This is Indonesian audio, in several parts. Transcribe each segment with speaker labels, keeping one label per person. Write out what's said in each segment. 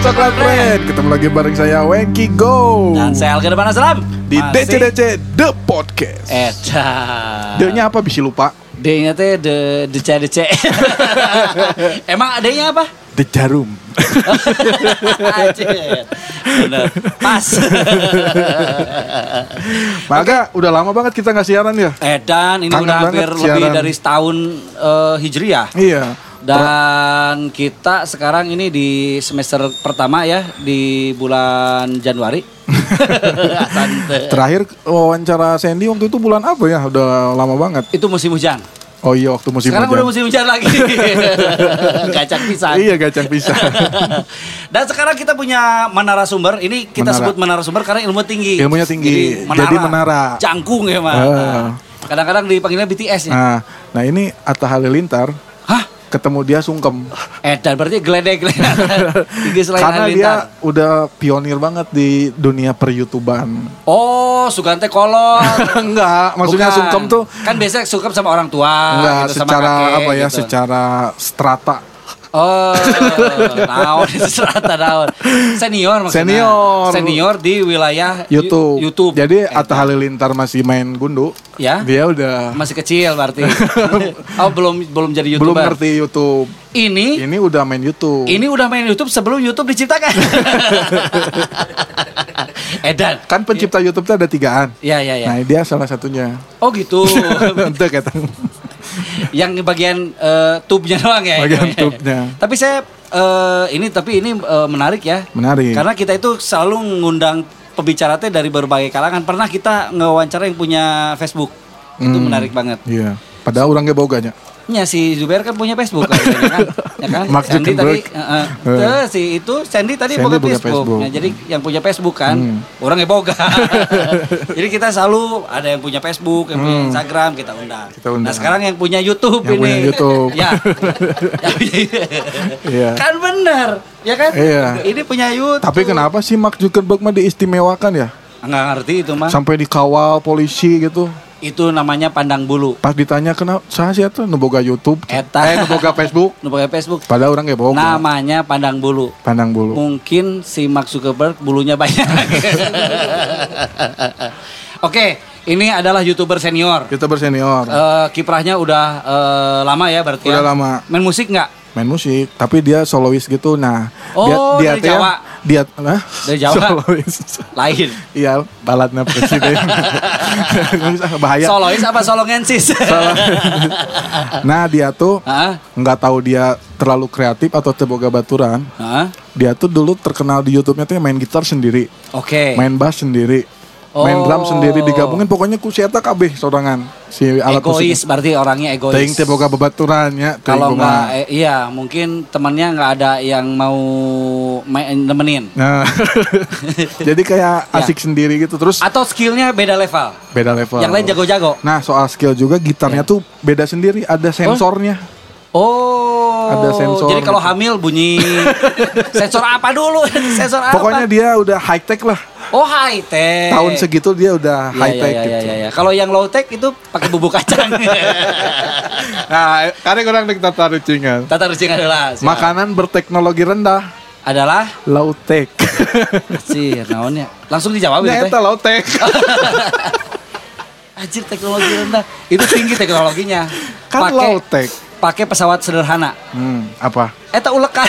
Speaker 1: Coklat Friend. Ketemu lagi bareng saya Wenki Go.
Speaker 2: Dan saya Alga Depan Aslam
Speaker 1: di DCDC The Podcast.
Speaker 2: Eta
Speaker 1: D-nya apa bisa lupa?
Speaker 2: D-nya teh de dece dece Emang adanya apa?
Speaker 1: The Jarum.
Speaker 2: Anjir. Bener Pas
Speaker 1: Maka udah lama banget kita nggak siaran ya.
Speaker 2: Edan ini
Speaker 1: Kangen
Speaker 2: udah hampir
Speaker 1: banget
Speaker 2: lebih
Speaker 1: siaran.
Speaker 2: dari setahun eh, Hijriah
Speaker 1: Iya.
Speaker 2: Dan kita sekarang ini di semester pertama ya Di bulan Januari Santai.
Speaker 1: Terakhir wawancara Sandy waktu itu bulan apa ya? Udah lama banget.
Speaker 2: Itu musim hujan
Speaker 1: Oh iya waktu musim
Speaker 2: Sekarang udah
Speaker 1: hujan.
Speaker 2: musim hujan lagi Kacang pisang
Speaker 1: Iya gacang pisah.
Speaker 2: Dan sekarang kita punya menara sumber. Ini kita
Speaker 1: Menara.
Speaker 2: sebut menara sumber karena ilmu tinggi.
Speaker 1: Ilmunya tinggi.
Speaker 2: Jadi menara.
Speaker 1: Jadi menara.
Speaker 2: Jangkung ya, Mas.
Speaker 1: Ah.
Speaker 2: Kadang-kadang dipanggilnya BTS ya.
Speaker 1: Nah, nah ini Atta Halilintar
Speaker 2: Hah?
Speaker 1: ketemu dia sungkem.
Speaker 2: Eh, dan berarti geledek geledek. tinggi selain
Speaker 1: Karena dia
Speaker 2: Halilintar.
Speaker 1: udah pionir banget di dunia peryoutuban.
Speaker 2: Oh, Sugante kolor.
Speaker 1: Enggak, maksudnya
Speaker 2: Bukan.
Speaker 1: sungkem tuh
Speaker 2: kan biasanya sungkem sama orang tua
Speaker 1: enggak
Speaker 2: gitu, sama
Speaker 1: secara
Speaker 2: kakek,
Speaker 1: apa ya,
Speaker 2: gitu.
Speaker 1: secara strata.
Speaker 2: Oh, naon itu serata naon. Senior maksudnya.
Speaker 1: Senior.
Speaker 2: Senior di wilayah Yu-
Speaker 1: YouTube.
Speaker 2: YouTube.
Speaker 1: Jadi Atta Halilintar masih main gundu.
Speaker 2: Ya.
Speaker 1: Dia udah
Speaker 2: Masih kecil berarti. oh, belum belum jadi YouTuber.
Speaker 1: belum ngerti YouTube.
Speaker 2: Ini
Speaker 1: Ini udah main YouTube.
Speaker 2: ini udah main YouTube sebelum YouTube diciptakan. Edan.
Speaker 1: Kan pencipta
Speaker 2: Iya.
Speaker 1: YouTube tuh ada tigaan.
Speaker 2: Ya ya ya.
Speaker 1: Nah, dia salah satunya.
Speaker 2: Oh gitu.
Speaker 1: Itu kata.
Speaker 2: Yang bagian eh, tubnya doang ya.
Speaker 1: Bagian tubnya.
Speaker 2: Tapi saya eh, ini tapi ini eh, menarik ya.
Speaker 1: Menarik.
Speaker 2: Karena kita itu selalu ngundang pembicara teh dari berbagai kalangan. Pernah kita ngewawancara yang punya Facebook. Itu menarik banget.
Speaker 1: Iya. Padahal orang ge boganya.
Speaker 2: Ya si Zubair kan punya Facebook kan, ya kan? Ya kan?
Speaker 1: Mark
Speaker 2: Sandy tadi
Speaker 1: Zuckerberg.
Speaker 2: eh, eh,
Speaker 1: Eh.
Speaker 2: tuh, si itu Sandy tadi
Speaker 1: Sandy
Speaker 2: punya
Speaker 1: punya
Speaker 2: Facebook.
Speaker 1: Facebook. Hmm.
Speaker 2: Nah, jadi yang punya Facebook kan orangnya boga. jadi kita selalu ada yang punya Facebook, yang punya Instagram kita undang.
Speaker 1: Hmm. Kita undang.
Speaker 2: Nah, sekarang yang punya YouTube
Speaker 1: Yang
Speaker 2: ini.
Speaker 1: punya YouTube.
Speaker 2: ya.
Speaker 1: Iya.
Speaker 2: Kan benar, ya kan?
Speaker 1: Iya.
Speaker 2: Ini punya YouTube.
Speaker 1: Tapi kenapa sih Mark Zuckerberg mah diistimewakan ya?
Speaker 2: Enggak ngerti itu mah.
Speaker 1: Sampai dikawal polisi gitu.
Speaker 2: Itu namanya pandang bulu.
Speaker 1: Pas ditanya kenapa saya sih tuh neboga YouTube,
Speaker 2: Eta.
Speaker 1: eh neboga Facebook.
Speaker 2: Lu pakai Facebook.
Speaker 1: Padahal orang ge boga.
Speaker 2: Nah. Namanya pandang bulu.
Speaker 1: Pandang
Speaker 2: Nah.
Speaker 1: bulu.
Speaker 2: Mungkin si Mark Zuckerberg bulunya banyak. Oke, ini adalah youtuber senior.
Speaker 1: Kita bersenior.
Speaker 2: Eh, kiprahnya udah eh, lama ya berarti. ya?
Speaker 1: Udah lama.
Speaker 2: Main musik nggak?
Speaker 1: main musik tapi dia solois gitu nah
Speaker 2: Oh,
Speaker 1: dia
Speaker 2: dari
Speaker 1: teh-
Speaker 2: Jawa.
Speaker 1: dia nah,
Speaker 2: Dari Jawa.
Speaker 1: solois
Speaker 2: Lain.
Speaker 1: iya baladnya presiden bahaya
Speaker 2: Solois apa solongensis?
Speaker 1: nah dia tuh
Speaker 2: Hah?
Speaker 1: nggak tahu dia terlalu kreatif atau terboga baturan
Speaker 2: Hah?
Speaker 1: dia tuh dulu terkenal di YouTube-nya tuh main gitar sendiri
Speaker 2: Oke.
Speaker 1: main bass sendiri
Speaker 2: Oh.
Speaker 1: main drum sendiri digabungin pokoknya ku sieta kabeh sorangan si alat
Speaker 2: Egois berarti orangnya egois.
Speaker 1: ting terboga babaturannya
Speaker 2: Kalau nggak, eh, iya mungkin temannya nggak ada yang mau main nemenin.
Speaker 1: Nah, jadi
Speaker 2: Ya.
Speaker 1: kayak asik sendiri gitu terus
Speaker 2: Atau skillnya beda level.
Speaker 1: beda level.
Speaker 2: Yang lain jago-jago. Ya.
Speaker 1: Nah, soal skill juga gitarnya tuh beda sendiri, ada sensornya.
Speaker 2: Oh,
Speaker 1: Ada sensor
Speaker 2: Jadi kalau
Speaker 1: gitu.
Speaker 2: hamil bunyi sensor apa dulu? sensor apa?
Speaker 1: Pokoknya dia udah high tech lah.
Speaker 2: oh high tech.
Speaker 1: Tahun segitu dia udah
Speaker 2: Ya,
Speaker 1: high
Speaker 2: ya,
Speaker 1: tech
Speaker 2: ya, ya,
Speaker 1: gitu.
Speaker 2: ya, ya. Kalau yang low tech itu pakai bubuk kacang.
Speaker 1: Nah, kadang orang nek tata rucingan.
Speaker 2: Tata rucing adalah siap.
Speaker 1: Makanan berteknologi rendah,
Speaker 2: adalah
Speaker 1: low tech.
Speaker 2: si naonnya. Langsung dijawab
Speaker 1: Nya
Speaker 2: itu.
Speaker 1: eta low tech.
Speaker 2: Anjir teknologi rendah. Itu tinggi teknologinya. Pakai-
Speaker 1: Kan low tech.
Speaker 2: Pakai pesawat sederhana.
Speaker 1: Hmm, apa?
Speaker 2: Eta ulekan.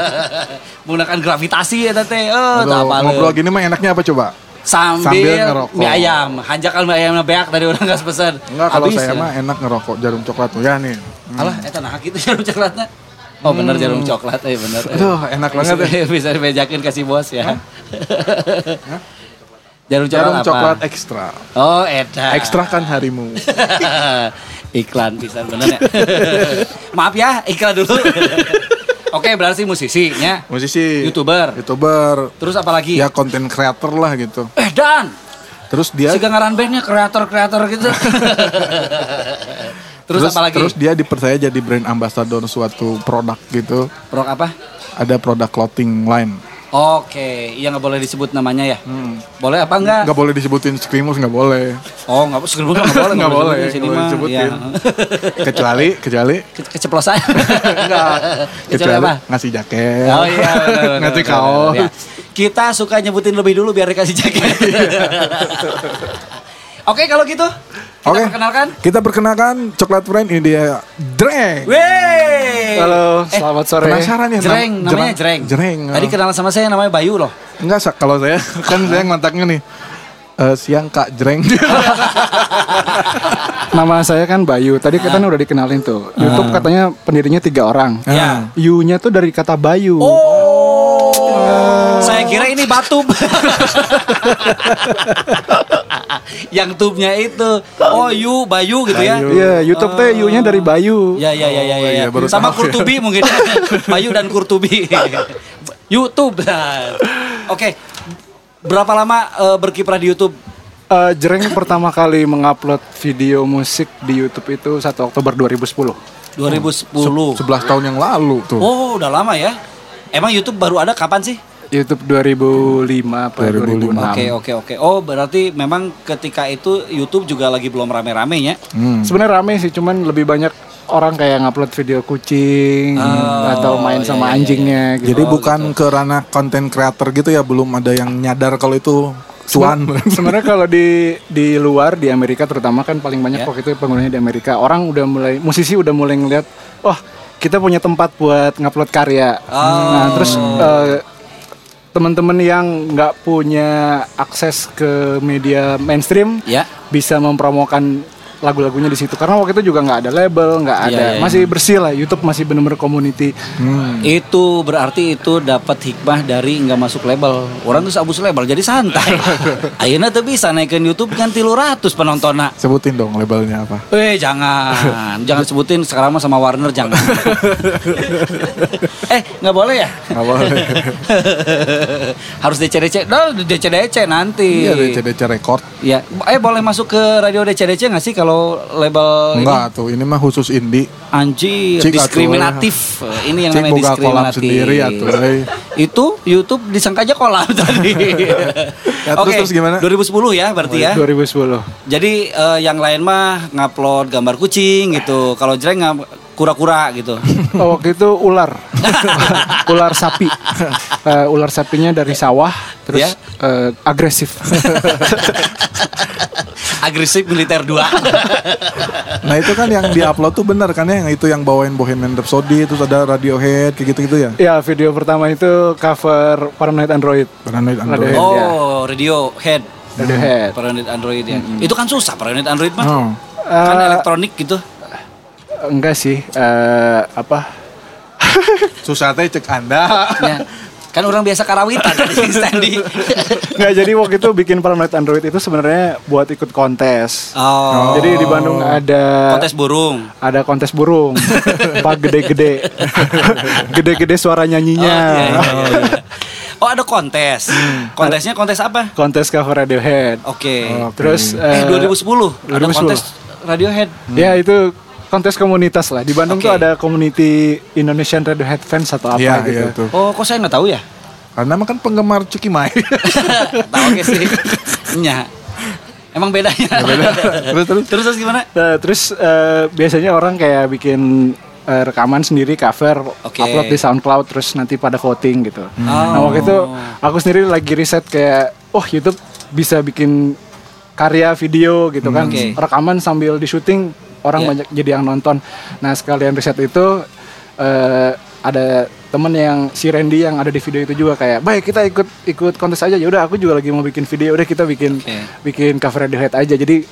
Speaker 2: Menggunakan gravitasi eta teh. Eh,
Speaker 1: Aduh,
Speaker 2: tak apa
Speaker 1: ngobrol gini mah enaknya apa coba? Sambil
Speaker 2: sambil,
Speaker 1: ngerokok.
Speaker 2: mie ayam hanjakan mie ayamnya beak dari orang nggak pesan
Speaker 1: Enggak, kalau
Speaker 2: Habis, ya.
Speaker 1: saya mah enak ngerokok jarum coklat tuh ya nih.
Speaker 2: alah eta nah gitu jarum coklatnya oh bener jarum coklat eh bener eh.
Speaker 1: Hmm. Aduh, enak
Speaker 2: bisa,
Speaker 1: banget ya.
Speaker 2: bisa dibejakin kasih bos ya jarum coklat
Speaker 1: Jarum
Speaker 2: apa
Speaker 1: coklat ekstra.
Speaker 2: oh eta
Speaker 1: Ekstra kan harimu.
Speaker 2: iklan bisa bener ya maaf ya iklan dulu oke berarti musisinya
Speaker 1: Musisi.
Speaker 2: Youtuber.
Speaker 1: YouTuber.
Speaker 2: terus apa lagi
Speaker 1: ya konten creator lah gitu
Speaker 2: eh dan
Speaker 1: terus dia
Speaker 2: si gangaran bandnya kreator kreator gitu terus, apa lagi
Speaker 1: terus dia dipercaya jadi brand ambassador suatu produk gitu
Speaker 2: Prok apa
Speaker 1: ada produk clothing line
Speaker 2: Oke, yang nggak boleh disebut namanya ya. Boleh apa enggak?
Speaker 3: Hmm. Nggak boleh disebutin Screamers nggak boleh.
Speaker 2: Oh, nggak boleh. Sebelumnya nggak boleh.
Speaker 3: Nggak boleh,
Speaker 2: disebutin
Speaker 3: nggak boleh
Speaker 2: di sini mah. Iya.
Speaker 3: kecuali kecuali
Speaker 2: Ke- Keceplosan.
Speaker 3: enggak
Speaker 2: Kecuali
Speaker 3: kecuali ya.
Speaker 2: apa?
Speaker 3: ngasih jaket.
Speaker 2: Oh iya, benar, benar,
Speaker 3: ngasih
Speaker 2: benar, benar,
Speaker 3: kaos.
Speaker 2: benar, ya. Kita suka nyebutin lebih dulu biar dikasih jaket.
Speaker 3: Iya.
Speaker 2: Oke, kalau gitu kita
Speaker 1: Oke.
Speaker 2: perkenalkan.
Speaker 1: Kita perkenalkan Coklat Friend ini dia Dreng.
Speaker 4: Eh,
Speaker 2: Wey! Eh,
Speaker 3: Halo, selamat sore.
Speaker 1: Penasaran ya?
Speaker 2: Jreng,
Speaker 1: nam-
Speaker 2: namanya Jreng.
Speaker 1: Jreng.
Speaker 3: oh.
Speaker 2: Tadi kenalan sama saya namanya Bayu loh.
Speaker 1: Enggak, Sak. oh. kalau saya
Speaker 3: Kan saya ngontaknya nih. eh, siang Kak Jreng.
Speaker 4: Nama saya kan Bayu. Tadi
Speaker 3: Ah.
Speaker 4: kan udah dikenalin tuh. YouTube katanya pendirinya tiga orang.
Speaker 3: Ah.
Speaker 2: Ya.
Speaker 4: You-nya tuh dari kata Bayu.
Speaker 3: Oh.
Speaker 2: Saya kira ini batub. Yang tubnya itu. Oh, Yu, Bayu gitu ya.
Speaker 4: Iya, YouTube teh You-nya dari Bayu.
Speaker 2: Ya ya ya ya ya.
Speaker 3: iya, baru
Speaker 2: Sama
Speaker 3: tahu ya.
Speaker 2: Kurtubi mungkin. Bayu dan Kurtubi. YouTube. Nah. Oke. Berapa lama eh, berkiprah di YouTube?
Speaker 4: Eh, Jreng pertama kali mengupload video musik di YouTube itu 1 Oktober 2010.
Speaker 2: 2010.
Speaker 3: 11 tahun yang lalu tuh.
Speaker 2: Oh, udah lama ya. Emang YouTube baru ada kapan sih?
Speaker 4: YouTube 2005 apa 2006.
Speaker 2: Oke, oke, oke. Oh, berarti memang ketika itu YouTube juga lagi belum rame-ramenya.
Speaker 4: Sebenarnya rame sih, cuman lebih banyak orang kayak ngupload video kucing
Speaker 3: Oh,
Speaker 4: atau main
Speaker 3: ya,
Speaker 4: sama anjingnya gitu.
Speaker 1: Jadi bukan ke ranah konten creator gitu ya, belum ada yang nyadar kalau itu cuan.
Speaker 4: Sebenarnya kalau di di luar di Amerika terutama kan paling banyak
Speaker 2: Ya.
Speaker 4: waktu itu penggunanya di Amerika. Orang udah mulai musisi udah mulai ngeliat, wah kita punya tempat buat ngupload karya. Nah
Speaker 2: Oh.
Speaker 4: terus eh, teman-teman yang nggak punya akses ke media mainstream
Speaker 2: Ya.
Speaker 4: bisa mempromokan lagu-lagunya di situ karena waktu itu juga nggak ada label nggak ada
Speaker 2: iya, iya.
Speaker 4: masih bersih lah YouTube masih bener-bener community
Speaker 2: Itu berarti itu dapat hikmah dari nggak masuk label. Orang tuh abus label jadi santai. Ayeuna tuh bisa naikin YouTube kan 300 penontonnya.
Speaker 1: Sebutin dong labelnya apa.
Speaker 2: Eh jangan, jangan sebutin sekarang mah sama Warner jangan. eh nggak boleh ya?
Speaker 1: Nggak boleh.
Speaker 2: Harus DCDC, no, DCDC nanti.
Speaker 1: Iya, DCDC Record.
Speaker 2: Ya, eh boleh masuk ke radio DCDC nggak sih kalau label Oh, ini?
Speaker 1: Enggak tuh, ini mah khusus indie.
Speaker 2: Anjir,
Speaker 1: Cik, eh.
Speaker 2: diskriminatif. Ini yang
Speaker 1: Cik,
Speaker 2: namanya
Speaker 1: boga kolam
Speaker 2: diskriminatif.
Speaker 1: sendiri, atuh, eh.
Speaker 2: Itu YouTube disangka aja kolam tadi.
Speaker 1: Ya, terus- terus gimana?
Speaker 2: 2010 ya berarti ya.
Speaker 4: 2010
Speaker 2: Jadi eh, yang lain mah ngupload gambar kucing gitu. Kalau Jreng ngap- kura-kura gitu.
Speaker 4: Oh, waktu itu ular, ular sapi, Eh, ular sapinya dari sawah, terus
Speaker 2: Ya.
Speaker 4: eh, agresif.
Speaker 2: Agresif militer 2.
Speaker 1: Nah itu kan yang diupload tuh bener kan ya, yang itu yang bawain Bohemian Rhapsody, terus ada Radiohead, kayak gitu-gitu ya.
Speaker 4: ya video pertama itu cover Paranoid Android,
Speaker 1: Paranoid Android.
Speaker 4: Radiohead.
Speaker 2: oh, radio head.
Speaker 4: Radiohead.
Speaker 2: Paranoid Android ya. Itu kan susah paranoid Android mah.
Speaker 1: Oh.
Speaker 2: Kan
Speaker 4: Eh,
Speaker 2: elektronik gitu.
Speaker 4: enggak sih, eh, apa?
Speaker 3: Susah teh cek Anda.
Speaker 2: Ya. Kan orang biasa karawitan tadi Sandy.
Speaker 4: Enggak jadi waktu itu bikin Paranoid Android itu sebenarnya buat ikut kontes.
Speaker 2: Oh.
Speaker 4: Jadi di Bandung ada
Speaker 2: kontes burung.
Speaker 4: ada kontes burung, pak gede-gede, gede-gede suara
Speaker 2: Oh,
Speaker 4: nyanyinya.
Speaker 2: iya, Hmm. iya, iya, iya. Oh, ada kontes. Kontesnya kontes apa?
Speaker 4: Kontes cover Radiohead.
Speaker 2: Oh, Oke.
Speaker 4: Terus
Speaker 2: Eh,
Speaker 4: eh,
Speaker 2: 2010 ada
Speaker 4: 2010.
Speaker 2: kontes Radiohead.
Speaker 4: Ya itu kontes komunitas lah. Di Bandung
Speaker 2: Oke.
Speaker 4: tuh ada community Indonesian Radiohead fans atau apa
Speaker 1: Iya,
Speaker 4: gitu.
Speaker 1: iya tuh.
Speaker 2: Oh, kok saya nggak tahu ya?
Speaker 1: Karena emang kan penggemar Cuki Mai.
Speaker 2: tahu oke sih. Nya. Emang bedanya. terus, terus terus gimana?
Speaker 4: Nah, terus eh, biasanya orang kayak bikin eh, rekaman sendiri cover
Speaker 2: Oke.
Speaker 4: upload di SoundCloud terus nanti pada voting gitu. Nah,
Speaker 2: Oh.
Speaker 4: waktu itu aku sendiri lagi riset kayak oh YouTube bisa bikin karya video gitu
Speaker 2: Hmm,
Speaker 4: kan
Speaker 2: Oke.
Speaker 4: rekaman sambil di syuting orang
Speaker 2: Iya.
Speaker 4: banyak jadi yang nonton. Nah, sekalian riset itu eh, ada temen yang si Randy yang ada di video itu juga kayak baik kita ikut ikut kontes aja ya udah aku juga lagi mau bikin video udah kita bikin
Speaker 2: Oke.
Speaker 4: bikin cover Radiohead aja jadi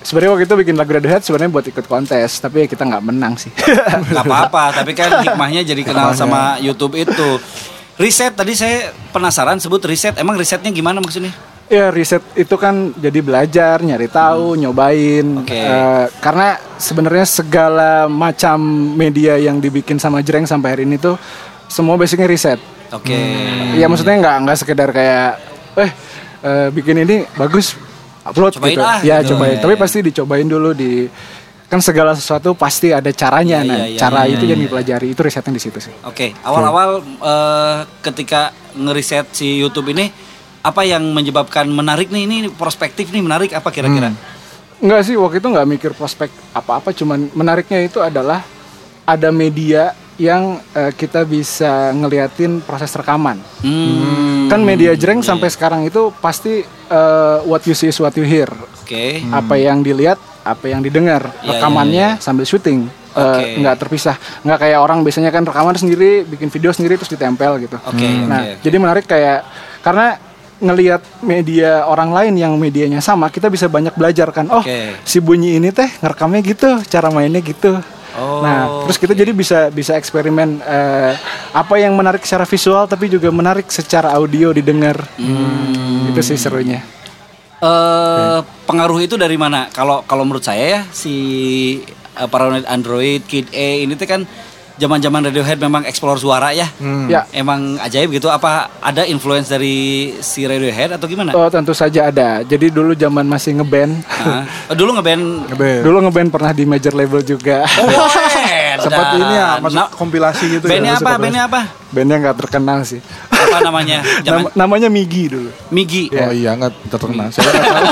Speaker 4: sebenarnya waktu itu bikin lagu Radiohead sebenarnya buat ikut kontes tapi ya kita nggak menang sih
Speaker 2: Gak apa-apa, tapi kan hikmahnya jadi kenal sama YouTube itu. Riset tadi saya penasaran sebut riset. Emang risetnya gimana maksudnya?
Speaker 4: ya riset itu kan jadi belajar nyari tahu
Speaker 2: Hmm.
Speaker 4: nyobain
Speaker 2: Oke.
Speaker 4: Eh, karena sebenarnya segala macam media yang dibikin sama Jreng sampai hari ini tuh semua basicnya riset
Speaker 2: Oke. Hmm.
Speaker 4: ya maksudnya nggak nggak sekedar kayak eh eh, bikin ini bagus upload
Speaker 2: Cobain
Speaker 4: gitu
Speaker 2: ah,
Speaker 4: ya
Speaker 2: gitu. Ya,
Speaker 4: cobain tapi
Speaker 2: ya.
Speaker 4: pasti dicobain dulu di kan segala sesuatu pasti ada caranya
Speaker 2: Iya,
Speaker 4: nah
Speaker 2: iya, iya,
Speaker 4: cara
Speaker 2: iya,
Speaker 4: itu
Speaker 2: iya,
Speaker 4: yang
Speaker 2: iya.
Speaker 4: dipelajari itu risetnya di situ sih
Speaker 2: Oke, awal-awal eh, ketika ngeriset si YouTube ini apa yang menyebabkan menarik nih ini prospektif nih menarik apa kira-kira?
Speaker 4: Enggak sih, waktu itu nggak mikir prospek apa-apa, cuman menariknya itu adalah ada media yang eh, kita bisa ngeliatin proses rekaman.
Speaker 2: Hmm,
Speaker 4: Kan media jreng sampai sekarang itu pasti eh, what you see is what you hear.
Speaker 2: Oke.
Speaker 4: Apa yang dilihat, apa yang didengar.
Speaker 2: Hmm. Iya, iya,
Speaker 4: Rekamannya sambil syuting. Eh,
Speaker 2: Oke.
Speaker 4: nggak terpisah. Nggak kayak orang biasanya kan rekaman sendiri, bikin video sendiri terus ditempel gitu.
Speaker 2: Oke,
Speaker 4: Nah,
Speaker 2: oke, oke.
Speaker 4: jadi menarik kayak karena ngelihat media orang lain yang medianya sama, kita bisa banyak belajar kan. Oh,
Speaker 2: Oke.
Speaker 4: si bunyi ini teh ngerekamnya gitu, cara mainnya gitu.
Speaker 2: Oh,
Speaker 4: nah, terus kita jadi bisa bisa eksperimen eh, apa yang menarik secara visual tapi juga menarik secara audio didengar.
Speaker 2: Hmm.
Speaker 4: Itu sih serunya.
Speaker 2: Eh, pengaruh itu dari mana? Kalau kalau menurut saya ya si eh, Paranoid Android Kid A ini tuh kan zaman-zaman Radiohead memang explore suara ya.
Speaker 4: Ya,
Speaker 2: Emang ajaib gitu apa ada influence dari si Radiohead atau gimana?
Speaker 4: oh, tentu saja ada. Jadi dulu zaman masih ngeband,
Speaker 2: Hah? Oh, dulu ngeband
Speaker 1: Ngeband.
Speaker 4: dulu ngeband pernah di major label juga.
Speaker 1: Sempat
Speaker 2: Seperti
Speaker 1: ini ya, masuk kompilasi gitu
Speaker 2: Nah,
Speaker 1: ya.
Speaker 2: Bandnya
Speaker 1: masuk
Speaker 2: apa?
Speaker 1: kompilasi.
Speaker 2: Bandnya apa?
Speaker 4: Bandnya nggak terkenal sih.
Speaker 2: Apa namanya? Jangan
Speaker 4: Nam- namanya Migi dulu.
Speaker 2: Migi.
Speaker 1: Oh iya nggak terkenal. Saya nggak tahu.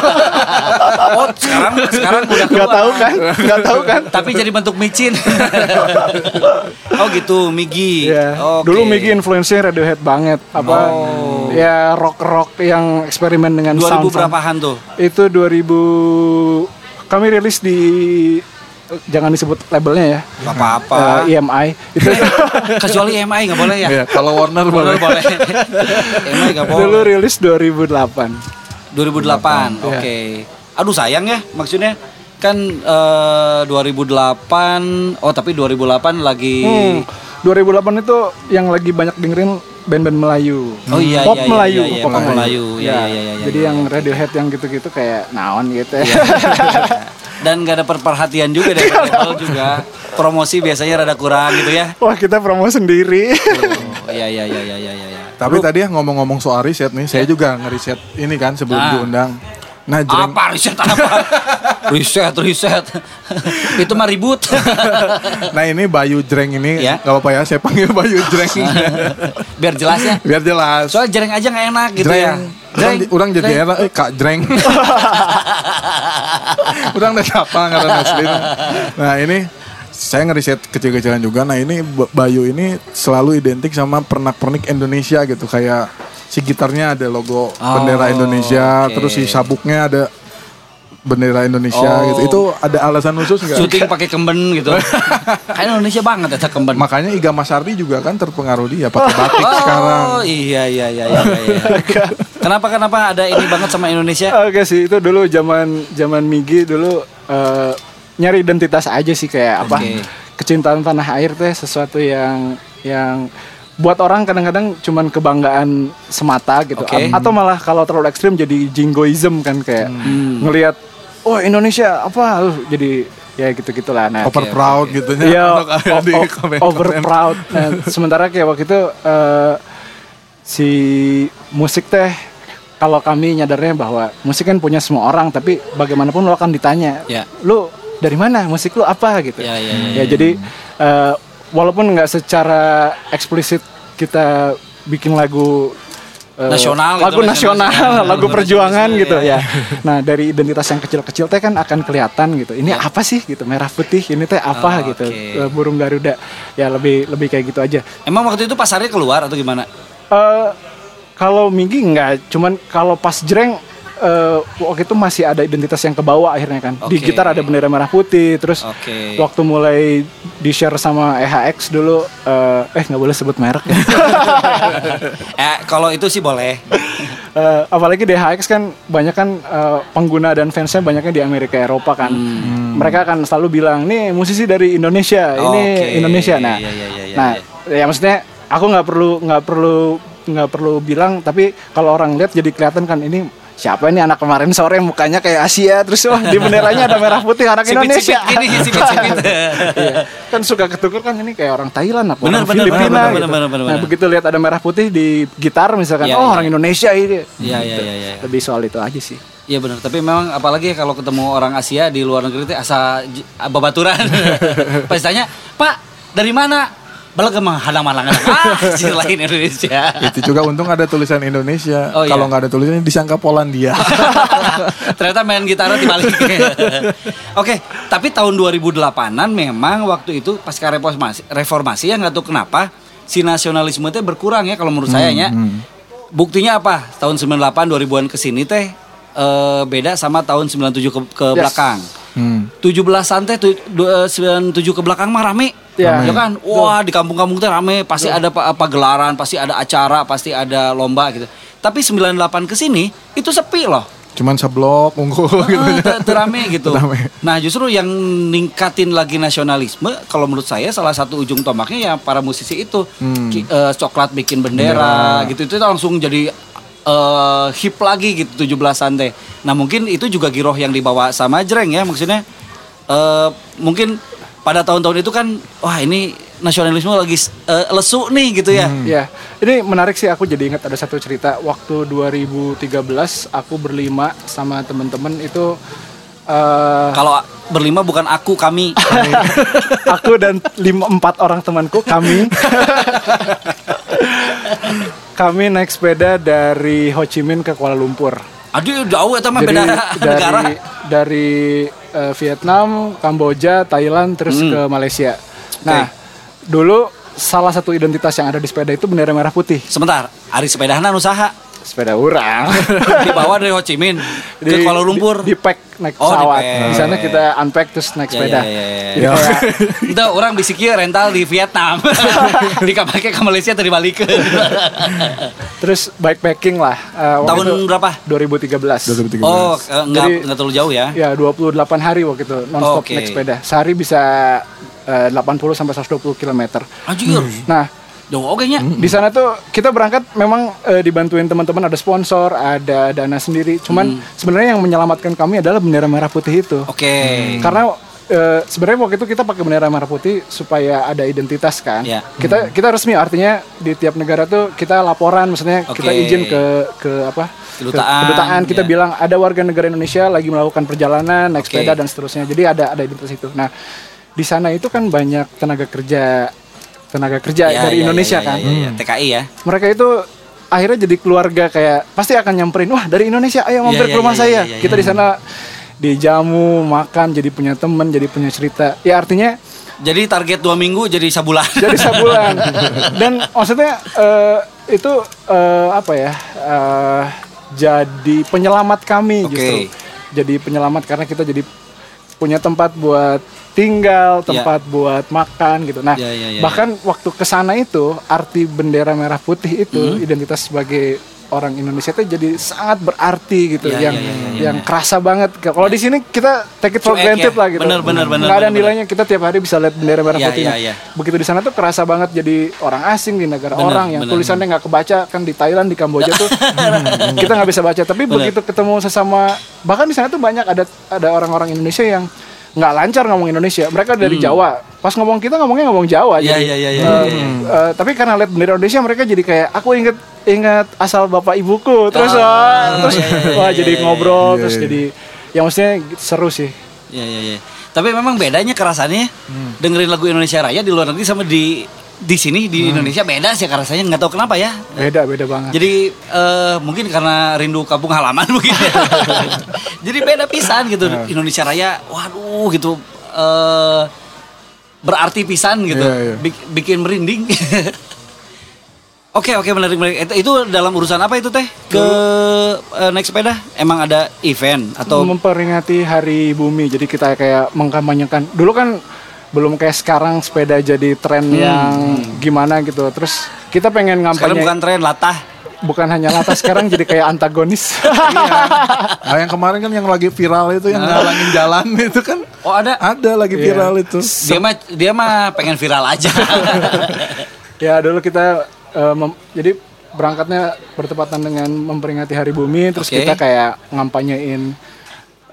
Speaker 2: Oh, sekarang sekarang udah
Speaker 4: Nggak
Speaker 2: keluar.
Speaker 4: tahu kan? Nggak tahu kan?
Speaker 2: Tapi jadi bentuk micin. oh gitu, Migi.
Speaker 4: Iya.
Speaker 2: Oke.
Speaker 4: Dulu Miggy influencer Radiohead banget. Apa ya rock rock yang eksperimen dengan
Speaker 2: 2000
Speaker 4: sound.
Speaker 2: berapahan tuh?
Speaker 4: Itu 2000 kami rilis di jangan disebut labelnya ya.
Speaker 2: Gak apa-apa.
Speaker 4: Eh, EMI itu
Speaker 2: Kecuali MI nggak boleh ya?
Speaker 1: Iya, Kalau Warner
Speaker 2: Boleh boleh.
Speaker 1: boleh.
Speaker 2: MI nggak
Speaker 4: dulu
Speaker 2: boleh.
Speaker 4: Iya. rilis 2008.
Speaker 2: 2008. Oke. Aduh sayang ya maksudnya kan eh, 2008 oh tapi 2008 lagi
Speaker 4: Hmm, 2008 itu yang lagi banyak dengerin band-band Melayu.
Speaker 2: Oh iya,
Speaker 4: pop
Speaker 2: iya, iya,
Speaker 4: Melayu, Ya,
Speaker 2: iya, iya, pop Melayu. Iya, iya, iya, iya,
Speaker 4: Jadi
Speaker 2: iya,
Speaker 4: yang Radiohead yang gitu-gitu kayak naon gitu ya.
Speaker 2: dan nggak dapat perhatian juga dari label juga promosi biasanya rada kurang gitu ya
Speaker 4: Wah, kita promo sendiri.
Speaker 2: oh, iya iya iya iya iya iya
Speaker 1: Tapi tadi ya ngomong-ngomong soal riset nih, saya juga ngeriset ini kan sebelum
Speaker 2: Ah.
Speaker 1: diundang. Nah, jreng,
Speaker 2: apa riset apa riset riset itu mah ribut
Speaker 1: nah ini Bayu Jreng ini,
Speaker 2: Ya.
Speaker 1: nggak apa-apa ya, saya panggil Bayu Jreng.
Speaker 2: biar jelasnya
Speaker 1: Biar jelas.
Speaker 2: soal jereng aja nggak enak gitu ya
Speaker 1: Jreng. Orang, di- orang jadi era, eh Kak Jreng. orang udah siapa karena asli. Nah ini saya ngeriset kecil-kecilan juga. Nah ini B- Bayu ini selalu identik sama pernak-pernik Indonesia gitu. Kayak si gitarnya ada logo bendera Indonesia,
Speaker 2: Oh, oke.
Speaker 1: terus si sabuknya ada bendera Indonesia
Speaker 2: Oh.
Speaker 1: gitu. Itu ada alasan khusus nggak?
Speaker 2: syuting pakai kemben gitu kayak Indonesia banget ya kemben
Speaker 1: Makanya Iga Masardi juga kan terpengaruh dia pakai batik sekarang.
Speaker 2: oh iya iya iya iya, iya. kenapa kenapa ada ini banget sama Indonesia
Speaker 4: Ah, Oke sih itu dulu zaman zaman Migi dulu eh, nyari identitas aja sih kayak apa
Speaker 2: Oke.
Speaker 4: kecintaan tanah air teh sesuatu yang yang buat orang kadang-kadang cuman kebanggaan semata gitu
Speaker 2: Oke.
Speaker 4: A- atau malah kalau terlalu ekstrim jadi jingoism kan kayak
Speaker 2: Hmm.
Speaker 4: ngelihat oh Indonesia apa uh, jadi ya gitu gitulah nah
Speaker 1: Over proud gitu
Speaker 4: Iya,
Speaker 1: Ada di
Speaker 4: o- o-
Speaker 1: komen-komen.
Speaker 4: over proud. Nah, sementara kayak waktu itu eh, si musik teh kalau kami nyadarnya bahwa musik kan punya semua orang, tapi bagaimanapun lo akan ditanya,
Speaker 2: Ya.
Speaker 4: lu dari mana, musik lu apa gitu.
Speaker 2: Ya, ya, ya,
Speaker 4: jadi eh, walaupun nggak secara eksplisit kita bikin lagu eh,
Speaker 2: Nasional gitu,
Speaker 4: lagu
Speaker 2: nasional.
Speaker 4: nasional, lagu
Speaker 2: Lagu
Speaker 4: perjuangan
Speaker 2: nasional,
Speaker 4: gitu
Speaker 2: ya, ya.
Speaker 4: ya. Nah dari identitas yang kecil-kecil teh kan akan kelihatan gitu. Ini apa sih gitu merah putih ini teh
Speaker 2: Ya.
Speaker 4: apa
Speaker 2: Oh,
Speaker 4: gitu
Speaker 2: oke.
Speaker 4: Eh, burung garuda ya lebih lebih kayak gitu aja.
Speaker 2: emang waktu itu pasarnya keluar atau gimana
Speaker 4: Eh kalau Minggi nggak, cuman kalau pas jreng eh, waktu itu masih ada identitas yang ke bawah akhirnya kan. Di
Speaker 2: Oke.
Speaker 4: gitar ada bendera merah putih, terus
Speaker 2: Oke.
Speaker 4: waktu mulai di share sama EHX dulu eh, eh nggak boleh sebut merek ya.
Speaker 2: eh kalau itu sih boleh
Speaker 4: Eh, apalagi DHX kan banyak kan eh, pengguna dan fansnya banyaknya di Amerika Eropa kan.
Speaker 2: Hmm.
Speaker 4: Mereka akan selalu bilang nih musisi dari Indonesia, ini
Speaker 2: Oke.
Speaker 4: Indonesia. Nah,
Speaker 2: Iya, iya, iya, iya,
Speaker 4: nah ya maksudnya aku nggak perlu nggak perlu nggak perlu bilang tapi kalau orang lihat jadi kelihatan kan ini siapa ini anak kemarin sore mukanya kayak Asia terus wah di benderanya ada merah putih anak Indonesia.
Speaker 2: sipit-sipit gini sipit-sipit
Speaker 4: Iya. kan suka ketuker kan ini kayak orang Thailand apa
Speaker 2: Benar,
Speaker 4: orang
Speaker 2: benar,
Speaker 4: Filipina
Speaker 2: benar,
Speaker 4: gitu.
Speaker 2: benar, benar, benar,
Speaker 4: Nah,
Speaker 2: benar.
Speaker 4: begitu lihat ada merah putih di gitar misalkan,
Speaker 2: Iya,
Speaker 4: oh
Speaker 2: iya.
Speaker 4: orang Indonesia
Speaker 2: Iya,
Speaker 4: ini.
Speaker 2: iya, iya, iya.
Speaker 4: Lebih soal itu aja sih.
Speaker 2: Iya benar, tapi memang apalagi ya kalau ketemu orang Asia di luar negeri itu asa j- babaturan. Pas tanya, "Pak, dari mana?" Belegem halang-halangan. Ah, si lain Indonesia.
Speaker 1: Itu juga untung ada tulisan Indonesia.
Speaker 2: Oh, iya.
Speaker 1: Kalau nggak ada tulisannya disangka Polandia.
Speaker 2: Ternyata main gitarnya dibalik. Oke, tapi tahun 2008-an memang waktu itu pasca reformasi, reformasi ya nggak tahu kenapa si nasionalisme teh berkurang ya kalau menurut saya ya. Buktinya apa? Tahun 98 2000-an ke sini teh eh, beda sama tahun 97 ke, ke
Speaker 4: Yes.
Speaker 2: belakang.
Speaker 1: Hmm.
Speaker 2: 17-an teh tu- du- eh, 97 ke belakang mah rame.
Speaker 4: Iya.
Speaker 2: Ya kan? Wah, di kampung-kampung teh rame, pasti ada apa, apa gelaran, pasti ada acara, pasti ada lomba gitu. Tapi 98 ke sini itu sepi loh.
Speaker 1: Cuman seblok unggul gitu.
Speaker 2: Ah, ter- terame gitu.
Speaker 1: Terame.
Speaker 2: Nah justru yang ningkatin lagi nasionalisme, kalau menurut saya salah satu ujung tombaknya ya para musisi itu, Ki- eh, coklat bikin bendera, gitu itu langsung jadi eh, hip lagi gitu 17-an teh. Nah mungkin itu juga giroh yang dibawa sama Jreng ya maksudnya. eh, mungkin pada tahun-tahun itu kan, wah ini nasionalisme lagi eh, lesu nih gitu ya.
Speaker 4: Ya, ini menarik sih aku jadi ingat ada satu cerita waktu 2013 aku berlima sama temen-temen itu eh
Speaker 2: Kalau berlima bukan aku kami.
Speaker 4: aku dan lima empat orang temanku kami kami naik sepeda dari Ho Chi Minh ke Kuala Lumpur.
Speaker 2: Aduh jauh ya mah
Speaker 4: Jadi
Speaker 2: beda negara.
Speaker 4: dari dari eh, Vietnam, Kamboja, Thailand terus
Speaker 2: Hmm.
Speaker 4: ke Malaysia. Nah, dulu salah satu identitas yang ada di sepeda itu bendera merah putih.
Speaker 2: Sebentar, Ari sepedahanan usaha
Speaker 4: Sepeda orang.
Speaker 2: dibawa dari Ho Chi Minh ke Kuala Lumpur.
Speaker 4: Di, di pack naik
Speaker 2: Oh, di
Speaker 4: pesawat.
Speaker 2: pack.
Speaker 4: Di sana kita unpack terus naik sepeda. Iya.
Speaker 2: Ya, ya,
Speaker 4: Jadi
Speaker 2: ya, ya.
Speaker 4: kayak-
Speaker 2: Itu orang bisiknya rental di Vietnam. Dikapake ke Malaysia tadi balik ke.
Speaker 4: terus bikepacking lah. eh, waktu
Speaker 2: Tahun
Speaker 4: itu
Speaker 2: berapa?
Speaker 1: 2013.
Speaker 4: 2013.
Speaker 2: Oh, eh, enggak
Speaker 4: Jadi-
Speaker 2: enggak terlalu jauh ya.
Speaker 4: Ya, 28 hari waktu itu non-stop
Speaker 2: Oke.
Speaker 4: naik sepeda. Sehari bisa eh, 80 sampai 120 km.
Speaker 2: Anjir.
Speaker 4: Nah,
Speaker 2: Jauh oke nya.
Speaker 4: di sana tuh kita berangkat memang eh, dibantuin teman-teman ada sponsor, ada dana sendiri. Cuman sebenarnya yang menyelamatkan kami adalah bendera merah putih itu.
Speaker 2: Hmm. Oke.
Speaker 4: Karena eh, sebenarnya waktu itu kita pakai bendera merah putih supaya ada identitas kan.
Speaker 2: Iya.
Speaker 4: Kita kita resmi artinya di tiap negara tuh kita laporan maksudnya
Speaker 2: Oke.
Speaker 4: kita izin ke ke apa? ke
Speaker 2: Kedutaan,
Speaker 4: kedutaan kita
Speaker 2: iya.
Speaker 4: bilang ada warga negara Indonesia lagi melakukan perjalanan naik
Speaker 2: Oke.
Speaker 4: sepeda dan seterusnya. Jadi ada ada identitas itu. Nah, di sana itu kan banyak tenaga kerja tenaga kerja
Speaker 2: Ya, ya,
Speaker 4: dari Indonesia
Speaker 2: ya, ya,
Speaker 4: kan
Speaker 2: ya, ya. TKI ya.
Speaker 4: mereka itu akhirnya jadi keluarga kayak pasti akan nyamperin wah dari Indonesia ayo
Speaker 2: Iya,
Speaker 4: mampir ke
Speaker 2: iya,
Speaker 4: rumah
Speaker 2: iya,
Speaker 4: saya
Speaker 2: iya, iya,
Speaker 4: kita di sana dijamu makan jadi punya teman jadi punya cerita ya artinya
Speaker 2: Jadi target dua minggu jadi sebulan.
Speaker 4: jadi sebulan dan maksudnya eh, itu eh, apa ya eh, jadi penyelamat kami
Speaker 2: Oke.
Speaker 4: justru jadi penyelamat karena kita jadi punya tempat buat tinggal tempat buat makan gitu nah
Speaker 2: Ya, ya, ya,
Speaker 4: bahkan waktu ke sana itu arti bendera merah putih itu
Speaker 2: Hmm.
Speaker 4: identitas sebagai orang Indonesia itu jadi sangat berarti gitu
Speaker 2: Ya,
Speaker 4: yang
Speaker 2: ya, ya, ya, ya,
Speaker 4: yang kerasa banget kalau di sini kita take it for
Speaker 2: Cuek
Speaker 4: granted
Speaker 2: ya.
Speaker 4: lah gitu
Speaker 2: Bener, bener, bener,
Speaker 4: nggak ada
Speaker 2: bener, bener.
Speaker 4: nilainya kita tiap hari bisa lihat bendera merah
Speaker 2: Ya,
Speaker 4: putih
Speaker 2: ya,
Speaker 4: Nah,
Speaker 2: ya.
Speaker 4: begitu di sana tuh kerasa banget jadi orang asing di negara
Speaker 2: Bener,
Speaker 4: orang yang
Speaker 2: bener,
Speaker 4: tulisannya nggak kebaca kan di Thailand di Kamboja tuh kita nggak bisa baca tapi begitu ketemu sesama bahkan di sana tuh banyak ada ada orang-orang Indonesia yang nggak lancar ngomong Indonesia mereka dari Jawa pas ngomong kita ngomongnya ngomong Jawa
Speaker 2: Ya,
Speaker 4: jadi
Speaker 2: ya, ya, ya,
Speaker 4: eh,
Speaker 2: ya, ya.
Speaker 4: eh, tapi karena lihat bendera Indonesia mereka jadi kayak aku inget ingat asal bapak ibuku terus
Speaker 2: Oh,
Speaker 4: wah, terus
Speaker 2: ya, ya, ya,
Speaker 4: wah
Speaker 2: ya,
Speaker 4: jadi
Speaker 2: ya, ya.
Speaker 4: ngobrol terus jadi yang maksudnya seru sih
Speaker 2: Ya, ya, ya. Tapi memang bedanya kerasannya
Speaker 1: Hmm.
Speaker 2: dengerin lagu Indonesia Raya di luar negeri sama di di sini di
Speaker 1: Hmm.
Speaker 2: Indonesia beda sih kerasanya nggak tahu kenapa ya.
Speaker 4: beda beda banget
Speaker 2: Jadi eh, mungkin karena rindu kampung halaman mungkin. Jadi beda pisan gitu
Speaker 1: Iya.
Speaker 2: Indonesia Raya. Waduh gitu eh, berarti pisan gitu.
Speaker 1: Iya, iya.
Speaker 2: Bik- bikin merinding. Oke oke menarik menarik. Itu, itu dalam urusan apa itu teh ke eh, naik sepeda? Emang ada event atau?
Speaker 4: memperingati hari bumi jadi kita kayak mengkampanyekan dulu kan belum kayak sekarang sepeda jadi tren yang gimana gitu terus kita pengen
Speaker 2: Hmm. Sekarang
Speaker 4: ngampanye
Speaker 2: bukan
Speaker 4: bukan,
Speaker 2: tren latah.
Speaker 4: hanya latas sekarang jadi kayak antagonis
Speaker 1: Ah, yang kemarin kan yang lagi viral itu yang ngalangin jalan itu kan
Speaker 2: Oh ada.
Speaker 1: ada lagi viral itu.
Speaker 2: Dia mah dia mah pengen viral aja.
Speaker 4: ya dulu kita eh, mem- jadi berangkatnya bertepatan dengan memperingati hari bumi terus
Speaker 2: Oke.
Speaker 4: kita kayak ngampanyein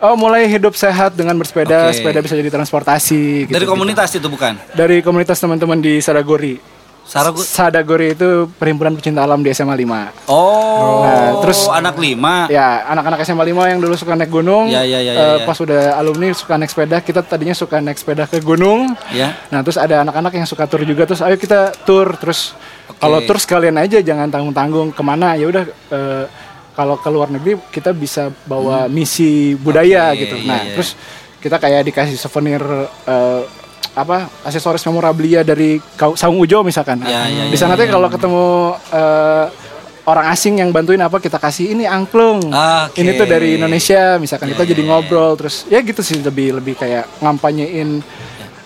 Speaker 4: oh mulai hidup sehat dengan bersepeda
Speaker 2: Oke.
Speaker 4: sepeda bisa jadi transportasi gitu.
Speaker 2: Dari komunitas itu bukan.
Speaker 4: dari komunitas teman-teman di Saragori
Speaker 2: Sarah gua-
Speaker 4: Sadagori itu perhimpunan pecinta alam di SMA 5.
Speaker 2: Oh,
Speaker 4: Nah,
Speaker 2: terus
Speaker 4: terus-
Speaker 2: anak lima.
Speaker 4: Ya, anak-anak SMA 5 yang dulu suka naik gunung.
Speaker 2: Ya, ya, ya, ya,
Speaker 4: eh,
Speaker 2: ya.
Speaker 4: Pas udah alumni suka naik sepeda, kita tadinya suka naik sepeda ke gunung.
Speaker 2: Ya.
Speaker 4: Nah, terus ada anak-anak yang suka tur juga, terus ayo kita tur, terus
Speaker 2: Oke.
Speaker 4: kalau tur sekalian aja jangan tanggung-tanggung kemana ya udah eh, kalau ke luar negeri kita bisa bawa misi budaya
Speaker 2: Hmm. Oke,
Speaker 4: gitu.
Speaker 2: iya,
Speaker 4: Nah,
Speaker 2: iya.
Speaker 4: terus kita kayak dikasih souvenir eh, apa aksesoris memorabilia dari Kau- Saung Ujo misalkan.
Speaker 2: Ya, ya,
Speaker 4: Di sana tuh kalau ketemu eh, orang asing yang bantuin apa kita kasih ini angklung.
Speaker 2: Oke.
Speaker 4: Ini tuh dari Indonesia misalkan
Speaker 2: Ya,
Speaker 4: kita
Speaker 2: ya,
Speaker 4: jadi
Speaker 2: ya,
Speaker 4: ngobrol terus ya gitu sih lebih lebih kayak ngampanyein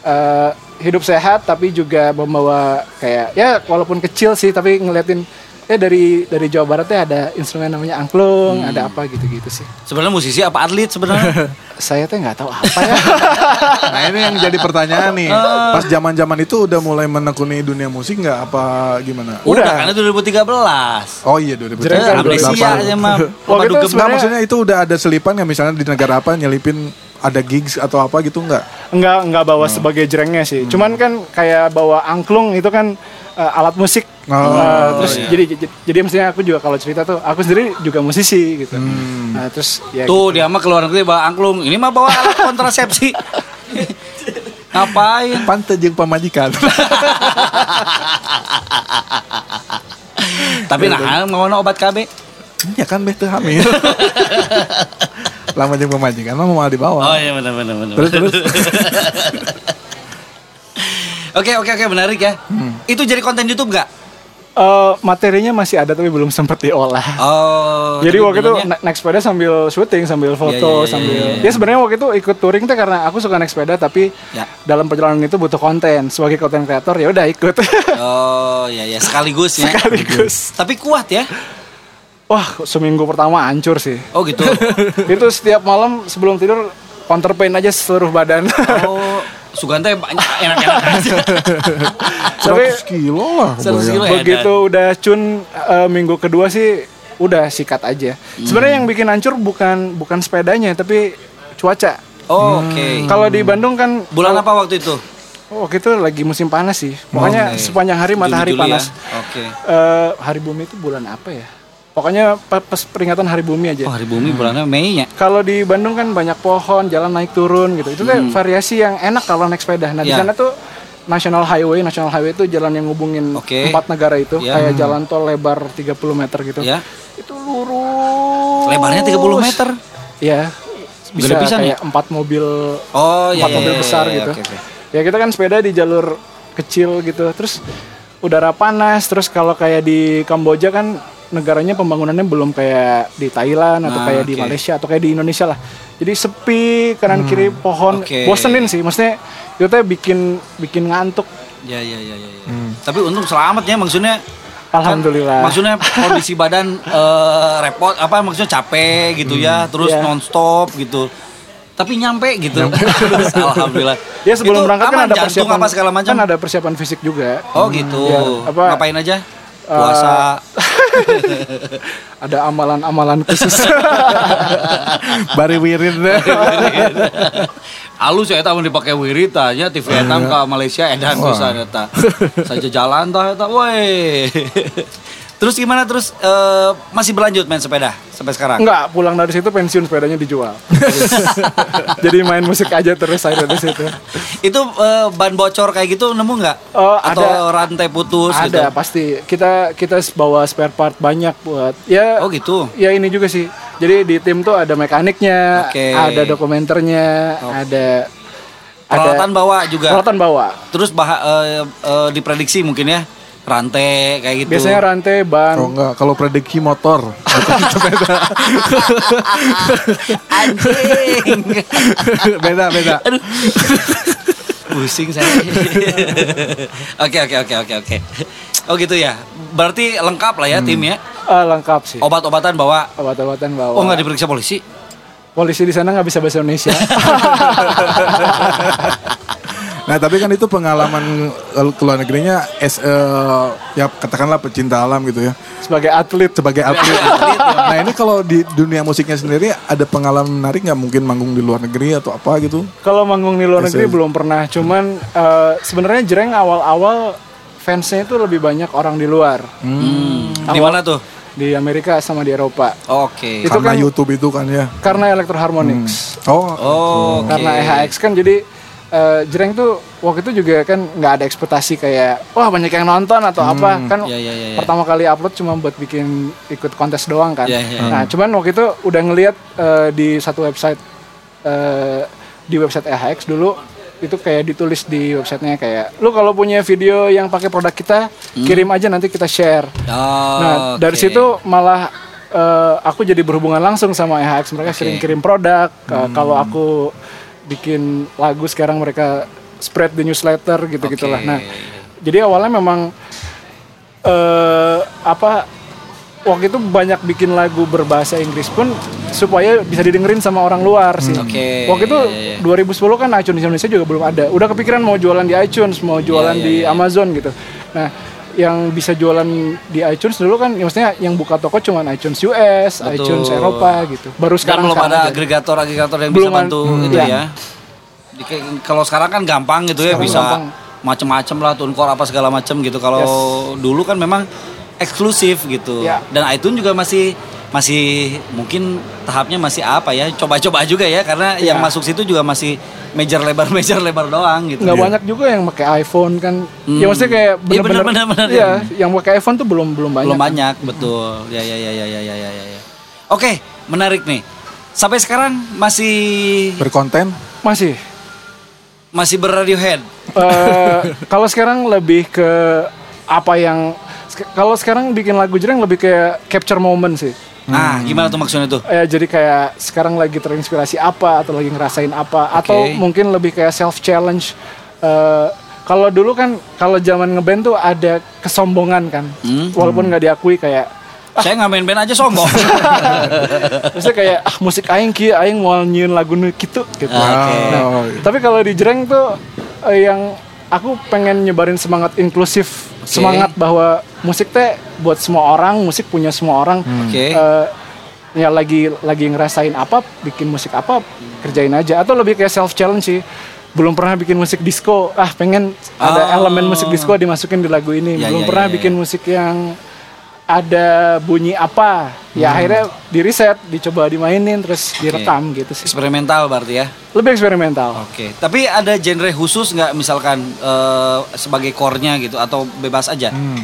Speaker 4: eh, hidup sehat tapi juga membawa kayak ya walaupun kecil sih tapi ngeliatin ya dari dari Jawa Barat tuh ada instrumen namanya angklung, ada apa gitu-gitu sih.
Speaker 2: Sebenarnya musisi apa atlet sebenarnya?
Speaker 4: Saya tuh nggak tahu apa ya.
Speaker 1: Nah ini yang jadi pertanyaan nih.
Speaker 2: Ah.
Speaker 1: Pas zaman zaman itu udah mulai menekuni dunia musik nggak apa gimana?
Speaker 2: Udah. kan? karena 2013.
Speaker 1: Oh iya 2000.
Speaker 4: Jerengkan
Speaker 1: Delapan.
Speaker 2: Ya, Amnesia aja mah.
Speaker 4: Waktu itu
Speaker 1: Nggak,
Speaker 4: sebenarnya-
Speaker 1: maksudnya itu udah ada selipan nggak misalnya di negara apa nyelipin ada gigs atau apa gitu nggak?
Speaker 4: nggak nggak bawa sebagai jerengnya sih. Cuman kan kayak bawa angklung itu kan eh, alat musik.
Speaker 1: Oh,
Speaker 4: Eh, terus jadi jadi- jadi maksudnya aku juga kalau cerita tuh aku sendiri juga musisi gitu. Nah, terus ya
Speaker 2: Tuh dia mah keluar negeri bawa angklung. Ini mah bawa alat kontrasepsi. Ngapain?
Speaker 1: Pantai jeung pamajikan.
Speaker 2: Tapi nah
Speaker 4: Iya,
Speaker 2: mau obat KB.
Speaker 1: ya kan beh teu hamil. Lama jeung pemajikan mah mau di
Speaker 2: Oh
Speaker 1: bawah.
Speaker 2: iya benar benar benar.
Speaker 1: Terus, terus.
Speaker 2: Oke oke oke menarik ya.
Speaker 4: Hmm.
Speaker 2: Itu jadi konten YouTube nggak?
Speaker 4: eh, materinya masih ada tapi belum sempat diolah.
Speaker 2: Oh.
Speaker 4: jadi
Speaker 2: tapi
Speaker 4: waktu itu
Speaker 2: bilangnya-
Speaker 4: na- naik sepeda sambil syuting, sambil foto,
Speaker 2: iya, iya,
Speaker 4: sambil.
Speaker 2: iya, iya.
Speaker 4: Ya sebenarnya waktu itu ikut touring tuh karena aku suka naik sepeda tapi
Speaker 2: Ya.
Speaker 4: dalam perjalanan itu butuh konten. Sebagai konten kreator ya udah ikut.
Speaker 2: Oh iya iya sekaligus ya.
Speaker 4: Sekaligus.
Speaker 2: Tapi kuat ya.
Speaker 4: Wah, seminggu pertama hancur sih.
Speaker 2: Oh gitu.
Speaker 4: itu setiap malam sebelum tidur counter pain aja seluruh badan.
Speaker 2: Oh Sugante banyak enak-enak aja.
Speaker 1: 100 kilo lah.
Speaker 2: 100
Speaker 1: kebayang.
Speaker 2: kilo. edan.
Speaker 4: Begitu udah cun eh, minggu kedua sih udah sikat aja.
Speaker 2: Hmm.
Speaker 4: Sebenarnya yang bikin hancur bukan bukan sepedanya tapi cuaca.
Speaker 2: Oh, Oke.
Speaker 4: Kalau di Bandung kan
Speaker 2: Bulan apa waktu itu?
Speaker 4: Oh, waktu itu lagi musim panas sih. Pokoknya
Speaker 2: Oke.
Speaker 4: sepanjang hari matahari
Speaker 2: Oh, iya, Juli-Juli
Speaker 4: panas.
Speaker 2: ya? Oke.
Speaker 4: Eh, hari bumi itu bulan apa ya? Pokoknya pe- pas peringatan hari bumi aja.
Speaker 2: Oh hari bumi bulannya Mei ya.
Speaker 4: Kalau di Bandung kan banyak pohon, jalan naik turun gitu. Itu kan variasi yang enak kalau naik sepeda. Nah, di
Speaker 2: Hmm. Ya.
Speaker 4: sana tuh National Highway, National Highway itu jalan yang ngubungin
Speaker 2: Oke.
Speaker 4: empat negara itu,
Speaker 2: Ya.
Speaker 4: kayak jalan tol lebar 30 meter gitu.
Speaker 2: Ya.
Speaker 4: Itu lurus.
Speaker 2: Lebarnya 30 meter.
Speaker 4: Ya. Bisa
Speaker 2: Gede pisan ya?
Speaker 4: kayak empat mobil
Speaker 2: Oh iya.
Speaker 4: empat mobil besar gitu. Ya kita kan sepeda di jalur kecil gitu. Terus udara panas. Terus kalau kayak di Kamboja kan negaranya pembangunannya belum kayak di Thailand atau
Speaker 2: Nah,
Speaker 4: kayak di
Speaker 2: oke.
Speaker 4: Malaysia atau kayak di Indonesia lah. Jadi sepi kanan kiri pohon.
Speaker 2: Hmm, Oke.
Speaker 4: Bosenin sih. Maksudnya itu teh bikin bikin ngantuk.
Speaker 2: Ya ya ya ya. ya.
Speaker 4: Hmm.
Speaker 2: Tapi untung selamat ya maksudnya.
Speaker 4: Alhamdulillah.
Speaker 2: Kan Maksudnya kondisi badan eh, repot apa maksudnya capek gitu ya, terus
Speaker 4: Iya.
Speaker 2: nonstop gitu. Tapi nyampe gitu. Alhamdulillah.
Speaker 4: Ya sebelum
Speaker 2: Itu
Speaker 4: berangkat kan
Speaker 2: aman,
Speaker 4: ada
Speaker 2: jantung
Speaker 4: persiapan
Speaker 2: apa segala macam.
Speaker 4: Kan ada persiapan fisik juga.
Speaker 2: Oh gitu.
Speaker 4: Ya, apa-
Speaker 2: Ngapain aja? Puasa.
Speaker 4: Ada amalan-amalan khusus.
Speaker 1: Bari wirid deh.
Speaker 2: Alus ya eta mun dipake wirid tah nya TV etam
Speaker 4: Iya.
Speaker 2: ka Malaysia edan pisan eta. Saja jalan tah eta woi. terus gimana terus eh, masih berlanjut main sepeda sampai sekarang?
Speaker 4: Enggak, pulang dari situ pensiun sepedanya dijual. Jadi main musik aja terus saya dari situ.
Speaker 2: Itu eh, ban bocor kayak gitu nemu nggak?
Speaker 4: Oh,
Speaker 2: Atau
Speaker 4: ada.
Speaker 2: rantai putus gitu?
Speaker 4: ada pasti kita kita bawa spare part banyak buat ya
Speaker 2: Oh gitu.
Speaker 4: ya ini juga sih jadi di tim tuh ada mekaniknya
Speaker 2: Oke. Oh.
Speaker 4: ada dokumenternya ada
Speaker 2: Peralatan bawa juga.
Speaker 4: peralatan bawa
Speaker 2: Terus bah- eh, eh, diprediksi mungkin ya rantai kayak gitu.
Speaker 4: biasanya rantai ban
Speaker 1: Oh enggak, kalau prediksi motor.
Speaker 2: anjing.
Speaker 1: beda beda.
Speaker 2: Aduh. Pusing saya. Oke oke oke oke oke. Oh gitu ya. Berarti lengkap lah ya timnya.
Speaker 4: eh, lengkap sih
Speaker 2: Obat-obatan bawa.
Speaker 4: obat-obatan bawa
Speaker 2: Oh nggak diperiksa polisi?
Speaker 4: polisi di sana nggak bisa bahasa Indonesia
Speaker 1: Nah tapi kan itu pengalaman eh, ke luar negerinya as, eh, ya katakanlah pecinta alam gitu ya
Speaker 4: sebagai atlet
Speaker 1: sebagai atlet. nah ini kalau di dunia musiknya sendiri ada pengalaman menarik nggak mungkin manggung di luar negeri atau apa gitu?
Speaker 4: Kalau manggung di luar
Speaker 1: Yes,
Speaker 4: negeri
Speaker 1: yes.
Speaker 4: belum pernah, cuman eh, sebenarnya Jreng awal-awal fansnya itu lebih banyak orang di luar
Speaker 1: Hmm.
Speaker 2: Hmm,
Speaker 4: Hmm.
Speaker 2: Di mana tuh?
Speaker 4: di Amerika sama di Eropa
Speaker 2: Oke.
Speaker 4: Itu
Speaker 1: Karena
Speaker 4: kan-
Speaker 1: YouTube itu kan ya.
Speaker 4: karena Electroharmonics
Speaker 1: Oh,
Speaker 2: Oh,
Speaker 4: karena EHX kan jadi eh, Jreng tuh waktu itu juga kan nggak ada ekspektasi kayak wah banyak yang nonton atau apa kan
Speaker 2: Ya, ya, ya, ya.
Speaker 4: pertama kali upload cuma buat bikin ikut kontes doang kan
Speaker 2: Ya, ya.
Speaker 4: nah cuman waktu itu udah ngelihat eh, di satu website eh, di website EHX dulu itu kayak ditulis di websitenya kayak lu kalau punya video yang pakai produk kita
Speaker 2: Hmm.
Speaker 4: kirim aja nanti kita share Nah, dari situ malah eh, aku jadi berhubungan langsung sama EHX. Mereka sering kirim produk. Eh, Kalau aku bikin lagu sekarang mereka spread di newsletter gitu-gitulah. Nah, jadi awalnya memang eh apa waktu itu banyak bikin lagu berbahasa Inggris pun supaya bisa didengerin sama orang luar sih.
Speaker 2: Oke,
Speaker 4: Waktu itu
Speaker 2: iya.
Speaker 4: 2010 kan iTunes Indonesia juga belum ada. Udah kepikiran mau jualan di iTunes, mau
Speaker 2: Iya,
Speaker 4: jualan di Amazon gitu. Nah, yang bisa jualan di iTunes dulu kan, ya maksudnya yang buka toko cuman iTunes US, iTunes Eropa gitu. Baru
Speaker 2: sekarang
Speaker 4: sekarang
Speaker 2: belum
Speaker 4: sekarang
Speaker 2: ada
Speaker 4: aja.
Speaker 2: agregator-agregator yang
Speaker 4: Belum
Speaker 2: bisa bantu
Speaker 4: ada.
Speaker 2: gitu
Speaker 4: Iya.
Speaker 2: ya. Di- kayak- Kalau sekarang kan gampang gitu ya
Speaker 4: Sekarang
Speaker 2: bisa
Speaker 4: gampang.
Speaker 2: macem-macem lah tunkor apa segala macem gitu. Kalau dulu kan memang eksklusif gitu.
Speaker 4: Iya.
Speaker 2: Dan iTunes juga masih masih mungkin tahapnya masih apa ya coba-coba juga ya karena
Speaker 4: Iya.
Speaker 2: yang masuk situ juga masih major lebar major lebar doang gitu.
Speaker 4: nggak banyak juga yang pakai iPhone kan. Ya
Speaker 2: Hmm.
Speaker 4: maksudnya kayak
Speaker 2: Iya, bener-bener, bener.
Speaker 4: Iya, yang pakai iPhone tuh belum belum banyak.
Speaker 2: belum banyak betul ya ya ya ya ya ya ya ya oke menarik nih sampai sekarang masih
Speaker 1: berkonten.
Speaker 4: Masih.
Speaker 2: masih berradiohead
Speaker 4: Eh, kalau sekarang lebih ke apa yang sek- kalau sekarang bikin lagu jreng lebih kayak capture moment sih.
Speaker 2: nah gimana tuh maksudnya tuh
Speaker 4: Eh, jadi kayak sekarang lagi terinspirasi apa atau lagi ngerasain apa atau
Speaker 2: Oke.
Speaker 4: mungkin lebih kayak self challenge. Eh, kalau dulu kan kalau zaman ngeband tuh ada kesombongan kan,
Speaker 2: Hmm.
Speaker 4: walaupun nggak diakui kayak
Speaker 2: saya nggak main band aja sombong
Speaker 4: Maksudnya kayak ah musik aing kieu aing mau nyiun lagu nu kitu gitu.
Speaker 2: Ah.
Speaker 1: Oh, iya.
Speaker 4: Tapi kalau di Jreng tuh eh, yang aku pengen nyebarin semangat inklusif, semangat bahwa musik teh buat semua orang, musik punya semua orang.
Speaker 2: Hmm. Oke.
Speaker 4: Eh, ya lagi lagi ngerasain apa, bikin musik apa, kerjain aja atau lebih kayak self challenge sih. Belum pernah bikin musik disco, ah pengen ada
Speaker 2: Oh.
Speaker 4: elemen musik disco dimasukin di lagu ini.
Speaker 2: Ya,
Speaker 4: Belum
Speaker 2: ya,
Speaker 4: pernah
Speaker 2: ya, ya.
Speaker 4: bikin musik yang ada bunyi apa. Ya
Speaker 2: Hmm.
Speaker 4: akhirnya di riset, dicoba dimainin terus direkam gitu sih.
Speaker 2: eksperimental berarti ya
Speaker 4: Lebih eksperimental.
Speaker 2: oke tapi ada genre khusus nggak misalkan eh, sebagai core-nya gitu atau bebas aja
Speaker 4: Hmm.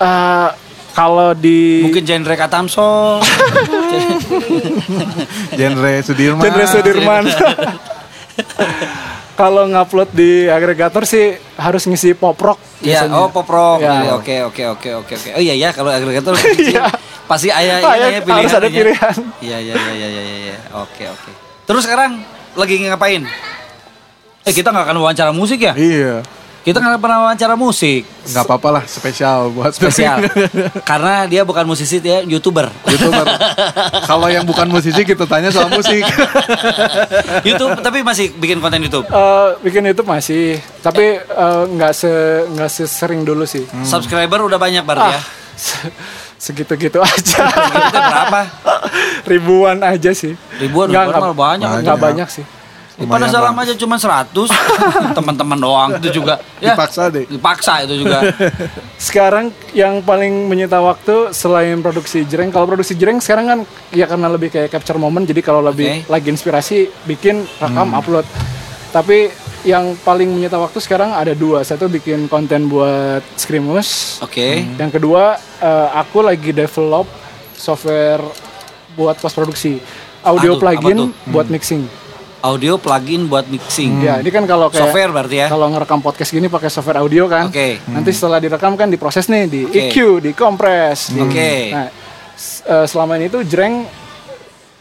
Speaker 4: Eh, kalau di
Speaker 2: mungkin genre katamso
Speaker 1: Genre Sudirman.
Speaker 4: Genre Sudirman. Kalau ngupload di agregator sih harus ngisi pop rock.
Speaker 2: Iya,
Speaker 4: biasanya.
Speaker 2: oh pop rock.
Speaker 4: Ya.
Speaker 2: Iya, Oke, oke, oke, oke, oke. Oh iya ya, kalau agregator kecil,
Speaker 4: Iya.
Speaker 2: pasti ayah
Speaker 4: Ah,
Speaker 2: ini
Speaker 4: ya,
Speaker 2: ya pilihan.
Speaker 4: harus ada
Speaker 2: ya.
Speaker 4: pilihan.
Speaker 2: Iya, iya, iya, iya, iya, iya, iya. Oke, oke. Terus sekarang lagi ngapain? Eh kita nggak akan wawancara musik ya?
Speaker 1: Iya.
Speaker 2: Kita nggak pernah wawancara musik
Speaker 1: Gak apa-apa lah spesial buat
Speaker 2: spesial, karena dia bukan musisi dia youtuber.
Speaker 1: YouTuber. Kalau yang bukan musisi kita tanya soal musik.
Speaker 2: YouTube tapi masih bikin konten YouTube.
Speaker 4: Eh, bikin YouTube masih, tapi eh, nggak se nggak sesering dulu sih.
Speaker 2: Subscriber udah banyak berarti ya.
Speaker 4: Se- Segitu-gitu aja.
Speaker 2: Kita berapa?
Speaker 4: ribuan aja sih.
Speaker 2: Ribuan,
Speaker 4: Nggak-
Speaker 2: ribuan malah banyak.
Speaker 4: Nggak banyak sih.
Speaker 2: Pada salam aja cuma 100 teman-teman doang itu juga Ya,
Speaker 1: Dipaksa deh.
Speaker 2: Oh, dipaksa itu juga
Speaker 4: Sekarang yang paling menyita waktu selain produksi jreng, kalau produksi jreng sekarang kan ya karena lebih kayak capture moment, jadi kalau lebih
Speaker 2: Oke. Hmm.
Speaker 4: lagi inspirasi bikin rekam upload. Tapi yang paling menyita waktu sekarang ada dua, satu bikin konten buat Screamus,
Speaker 2: oke
Speaker 4: yang kedua eh, aku lagi develop software buat post produksi, audio
Speaker 2: Aduh, apa tuh? Hmm.
Speaker 4: plugin buat mixing.
Speaker 2: audio plugin buat mixing.
Speaker 4: Ya ini kan kalau kayak
Speaker 2: Software berarti ya.
Speaker 4: kalau ngerekam podcast gini pakai software audio kan.
Speaker 2: Oke. Hmm.
Speaker 4: Nanti setelah direkam kan diproses nih di
Speaker 2: Oke.
Speaker 4: EQ, di compress. di-
Speaker 2: Oke.
Speaker 4: Nah, s- eh, selama ini tuh Jreng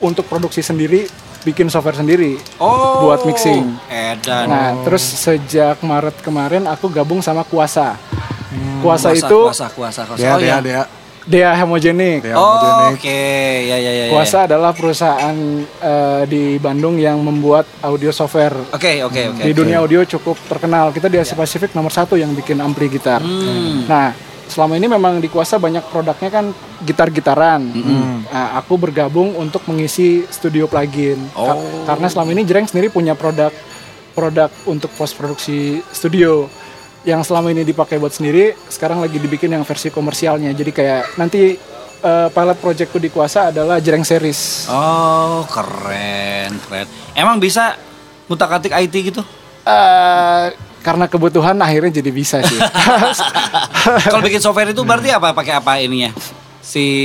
Speaker 4: untuk produksi sendiri bikin software sendiri
Speaker 2: Oh.
Speaker 4: buat mixing.
Speaker 2: Edan.
Speaker 4: Nah, terus sejak Maret kemarin aku gabung sama Kuasa. Kuasa,
Speaker 2: Hmm, Kuasa,
Speaker 4: itu
Speaker 2: kuasa kuasa kuasa.
Speaker 1: Ya,
Speaker 2: Oh,
Speaker 1: ya,
Speaker 2: iya.
Speaker 1: ya.
Speaker 4: Dea Hemogenik.
Speaker 1: Dea.
Speaker 2: Oh,
Speaker 1: Homogenik.
Speaker 2: Oke, ya ya ya. ya.
Speaker 4: Kuasa adalah perusahaan eh, di Bandung yang membuat audio software
Speaker 2: Oke, oke, oke.
Speaker 4: di dunia audio cukup terkenal. Kita di Asia Pasifik nomor satu yang bikin ampli gitar. Nah, selama ini memang di Kuasa banyak produknya kan gitar-gitaran. Nah, aku bergabung untuk mengisi studio plugin. Ka- Karena selama ini Jreng sendiri punya produk produk untuk post produksi studio. yang selama ini dipakai buat sendiri sekarang lagi dibikin yang versi komersialnya jadi kayak nanti eh, pilot projectku di kuasa adalah jereng series
Speaker 2: Oh, keren, keren. Emang bisa ngutak-atik IT gitu?
Speaker 4: Eh, karena kebutuhan akhirnya jadi bisa sih
Speaker 2: Kalau bikin software itu berarti apa? Pakai apa ininya? Si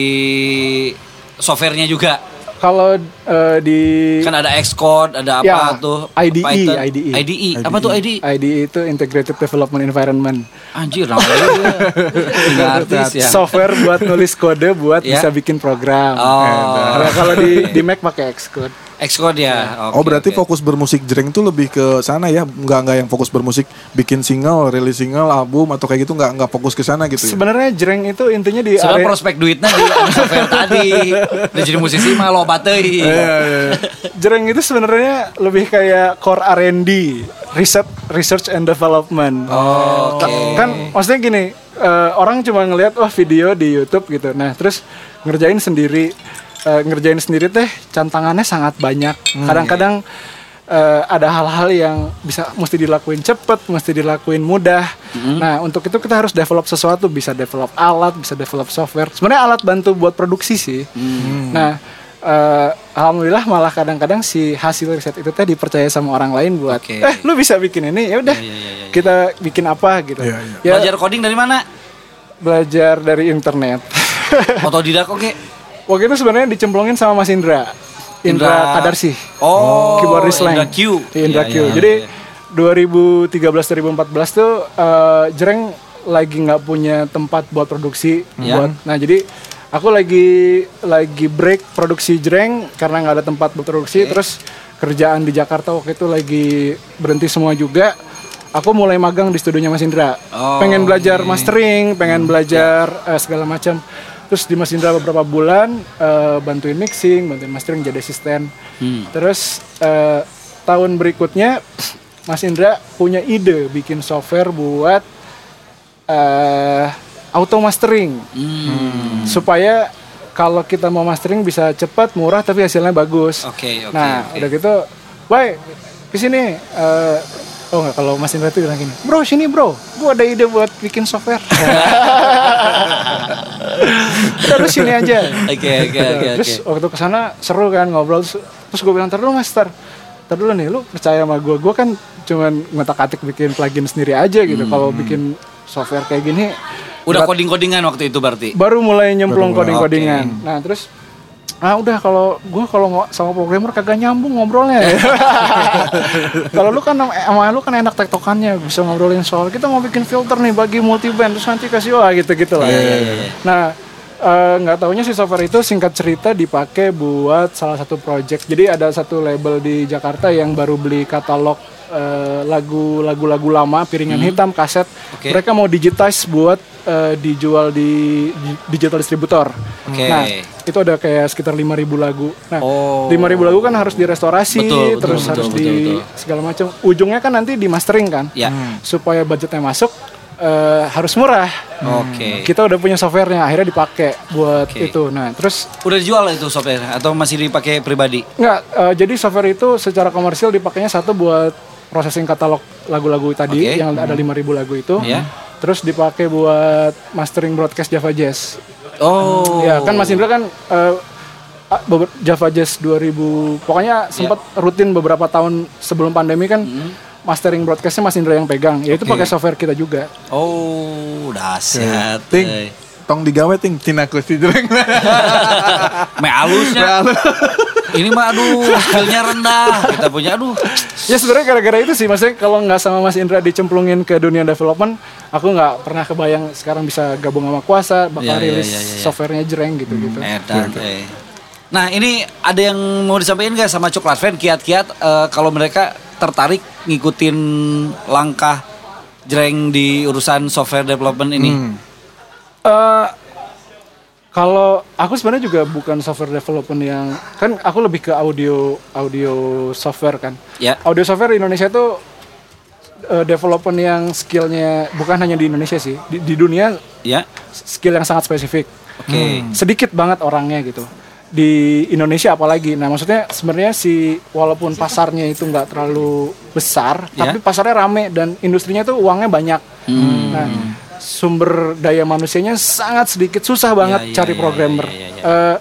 Speaker 2: softwarenya juga.
Speaker 4: kalau eh, di
Speaker 2: Kan ada Xcode, ada apa
Speaker 4: Ya,
Speaker 2: tuh?
Speaker 4: IDE,
Speaker 2: Python.
Speaker 4: IDE.
Speaker 2: IDE. Apa tuh IDE?
Speaker 4: IDE itu Integrated Development Environment
Speaker 2: Anjir, namanya. Tinggal artis ya.
Speaker 4: software buat nulis kode buat
Speaker 2: Ya.
Speaker 4: bisa bikin program
Speaker 2: Oh. Iya.
Speaker 4: Nah, kalau di di Mac pakai Xcode
Speaker 2: Xcode
Speaker 4: Eh.
Speaker 2: ya.
Speaker 1: oh
Speaker 2: Oke,
Speaker 1: berarti
Speaker 2: oke.
Speaker 1: fokus bermusik jreng tuh lebih ke sana ya, nggak nggak yang fokus bermusik bikin single, rilis single, album atau kayak gitu nggak nggak fokus ke sana gitu. Ya?
Speaker 4: sebenarnya jereng itu intinya di
Speaker 2: Sebenarnya
Speaker 4: area-
Speaker 2: prospek duitnya di anu software tadi. Udah jadi musisi mah lo
Speaker 1: Iya,
Speaker 2: batei.
Speaker 4: Jereng itu sebenarnya lebih kayak core R&D, research research and development.
Speaker 2: Oke.
Speaker 4: Ka- Kan maksudnya gini, eh, orang cuma ngelihat wah video di YouTube gitu. Nah, terus ngerjain sendiri eh, ngerjain sendiri teh tantangannya sangat banyak.
Speaker 2: Hmm.
Speaker 4: Kadang-kadang eh, ada hal-hal yang bisa mesti dilakuin cepet, mesti dilakuin mudah.
Speaker 2: Hmm.
Speaker 4: Nah, untuk itu kita harus develop sesuatu, bisa develop alat, bisa develop software. Sebenarnya alat bantu buat produksi sih.
Speaker 2: Hmm.
Speaker 4: Nah, Eh, alhamdulillah malah kadang-kadang si hasil riset itu teh dipercaya sama orang lain buat
Speaker 2: Oke.
Speaker 4: eh lu bisa bikin ini ya udah
Speaker 2: Iya,
Speaker 4: kita bikin apa gitu ya
Speaker 2: Belajar coding dari mana?
Speaker 4: belajar dari internet
Speaker 2: Otodidak oke.
Speaker 4: waktu itu sebenarnya dicemplungin sama Mas Indra
Speaker 2: Indra-
Speaker 4: Indra Kadarsi
Speaker 2: Oh,
Speaker 4: keyboardist
Speaker 2: Indra
Speaker 4: Lang.
Speaker 2: Q.
Speaker 4: Iya, Indra
Speaker 2: Iya,
Speaker 4: Q
Speaker 2: iya,
Speaker 4: jadi 2013 2014 tuh eh, Jereng lagi nggak punya tempat buat produksi
Speaker 2: Iya.
Speaker 4: buat nah jadi aku lagi lagi break produksi Jereng karena nggak ada tempat buat produksi terus kerjaan di Jakarta waktu itu lagi berhenti semua juga aku mulai magang di studionya Mas Indra
Speaker 2: Oh,
Speaker 4: pengen belajar mastering pengen belajar eh, segala macam terus di Mas Indra beberapa bulan eh, bantuin mixing bantuin mastering jadi asisten terus eh, tahun berikutnya Mas Indra punya ide bikin software buat eh auto mastering
Speaker 2: Hmm.
Speaker 4: supaya kalau kita mau mastering bisa cepat murah tapi hasilnya bagus
Speaker 2: Oke, oke,
Speaker 4: nah
Speaker 2: oke.
Speaker 4: udah gitu bye kesini eh oh nggak kalau Mas Indra tuh bilang gini bro sini bro gua ada ide buat bikin software terus sini aja
Speaker 2: Oke, oke,
Speaker 4: Gitu.
Speaker 2: oke,
Speaker 4: terus
Speaker 2: oke.
Speaker 4: waktu kesana seru kan ngobrol terus, terus gue bilang terus master terus dulu nih lu percaya sama gue gue kan cuman ngotak atik bikin plugin sendiri aja gitu
Speaker 2: Hmm.
Speaker 4: kalau bikin software kayak gini
Speaker 2: Udah coding-codingan waktu itu berarti.
Speaker 4: baru mulai nyemplung coding codingan nah terus ah udah kalau gue kalau nggak sama programmer kagak nyambung ngobrolnya ya." kalau lu kan sama lu kan enak tektokannya bisa ngobrolin soal kita mau bikin filter nih bagi multiband terus nanti kasih wah gitu gitu lah nah eh, nggak taunya si software itu singkat cerita dipakai buat salah satu project jadi ada satu label di Jakarta yang baru beli katalog eh, lagu lagu-lagu lama piringan hitam kaset
Speaker 2: Oke.
Speaker 4: mereka mau digitize buat eh, dijual di di- digital distributor.
Speaker 2: Oke.
Speaker 4: Nah, itu ada kayak sekitar 5000 lagu. Nah,
Speaker 2: Oh.
Speaker 4: 5000 lagu kan harus direstorasi,
Speaker 2: Betul, betul,
Speaker 4: terus
Speaker 2: betul,
Speaker 4: harus
Speaker 2: betul,
Speaker 4: di
Speaker 2: betul.
Speaker 4: segala macam. Ujungnya kan nanti di mastering kan.
Speaker 2: Ya.
Speaker 4: Supaya budgetnya masuk eh, harus murah.
Speaker 2: Oke.
Speaker 4: Hmm. Kita udah punya softwarenya akhirnya dipakai buat
Speaker 2: Oke.
Speaker 4: itu. Nah, terus
Speaker 2: Udah dijual itu software atau masih dipakai pribadi?
Speaker 4: Nggak, eh, jadi software itu secara komersil dipakainya satu buat processing katalog lagu-lagu tadi
Speaker 2: Oke. Hmm.
Speaker 4: yang ada 5000 lagu itu.
Speaker 2: Iya.
Speaker 4: Terus dipakai buat mastering broadcast Java Jazz.
Speaker 2: Oh.
Speaker 4: Ya, kan Mas Indra kan eh, ah, beber- Java Jazz 2000
Speaker 2: Iya.
Speaker 4: pokoknya sempat rutin beberapa tahun sebelum pandemi kan
Speaker 2: Hmm.
Speaker 4: mastering broadcastnya Mas Indra yang pegang. Ya itu pakai software kita juga.
Speaker 2: Oh, dahsyat.
Speaker 1: Ting,
Speaker 2: eh.
Speaker 1: tong digawe ting tina kusti jreng.
Speaker 2: Me halusnya. Ini mah aduh, skillnya rendah. Kita punya aduh.
Speaker 4: Ya sebenarnya gara-gara itu sih maksudnya kalau nggak sama Mas Indra dicemplungin ke dunia development, aku nggak pernah kebayang sekarang bisa gabung sama Kuasa
Speaker 2: Ya, ya,
Speaker 4: bakal rilis
Speaker 2: ya, ya, ya.
Speaker 4: softwarenya jereng gitu gitu.
Speaker 2: Edan, eh. Nah, ini ada yang mau disampaikan gak sama Coklat Fan kiat-kiat eh, kalau mereka tertarik ngikutin langkah jreng di urusan software development ini?
Speaker 4: Hmm. Eh, kalau aku sebenarnya juga bukan software development yang kan aku lebih ke audio audio software kan.
Speaker 2: Ya.
Speaker 4: Audio software di Indonesia tuh eh, development yang skillnya bukan hanya di Indonesia sih di, di dunia
Speaker 2: Ya.
Speaker 4: skill yang sangat spesifik.
Speaker 2: Oke.
Speaker 4: Sedikit banget orangnya gitu. di Indonesia apalagi. Nah, maksudnya sebenarnya si walaupun pasarnya itu nggak terlalu besar,
Speaker 2: Iya.
Speaker 4: tapi pasarnya rame dan industrinya tuh uangnya banyak.
Speaker 2: Hmm.
Speaker 4: Nah, sumber daya manusianya sangat sedikit, susah banget
Speaker 2: iya,
Speaker 4: cari
Speaker 2: iya,
Speaker 4: programmer.
Speaker 2: iya, iya,
Speaker 4: Eh,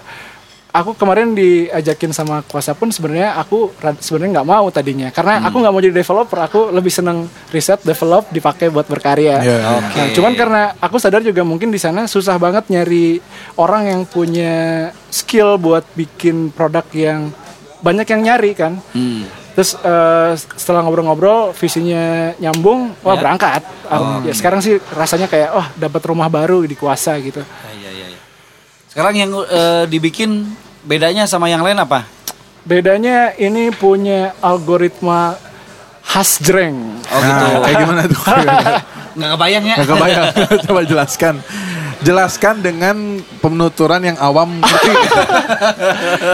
Speaker 4: aku kemarin diajakin sama kuasa pun sebenarnya aku ra- sebenarnya nggak mau tadinya
Speaker 2: Hmm.
Speaker 4: karena aku nggak mau jadi developer, aku lebih seneng riset, develop, dipakai buat berkarya.
Speaker 1: Iya.
Speaker 2: Oke.
Speaker 4: Nah, cuman karena aku sadar juga mungkin di sana susah banget nyari orang yang punya skill buat bikin produk yang banyak yang nyari kan.
Speaker 2: Hmm.
Speaker 4: Terus eh, setelah ngobrol-ngobrol visinya nyambung, wah
Speaker 2: Ya.
Speaker 4: berangkat. Ah, ya, sekarang sih rasanya kayak wah dapat rumah baru di kuasa gitu.
Speaker 2: Ah, iya, iya, iya. Sekarang yang eh, dibikin bedanya sama yang lain apa?
Speaker 4: Bedanya ini punya algoritma khas jreng.
Speaker 2: Oh gitu.
Speaker 1: Nah, kayak gimana tuh?
Speaker 2: Nggak kebayang ya?
Speaker 1: Gak kebayang. Coba jelaskan. Jelaskan dengan penuturan yang awam. ngerti.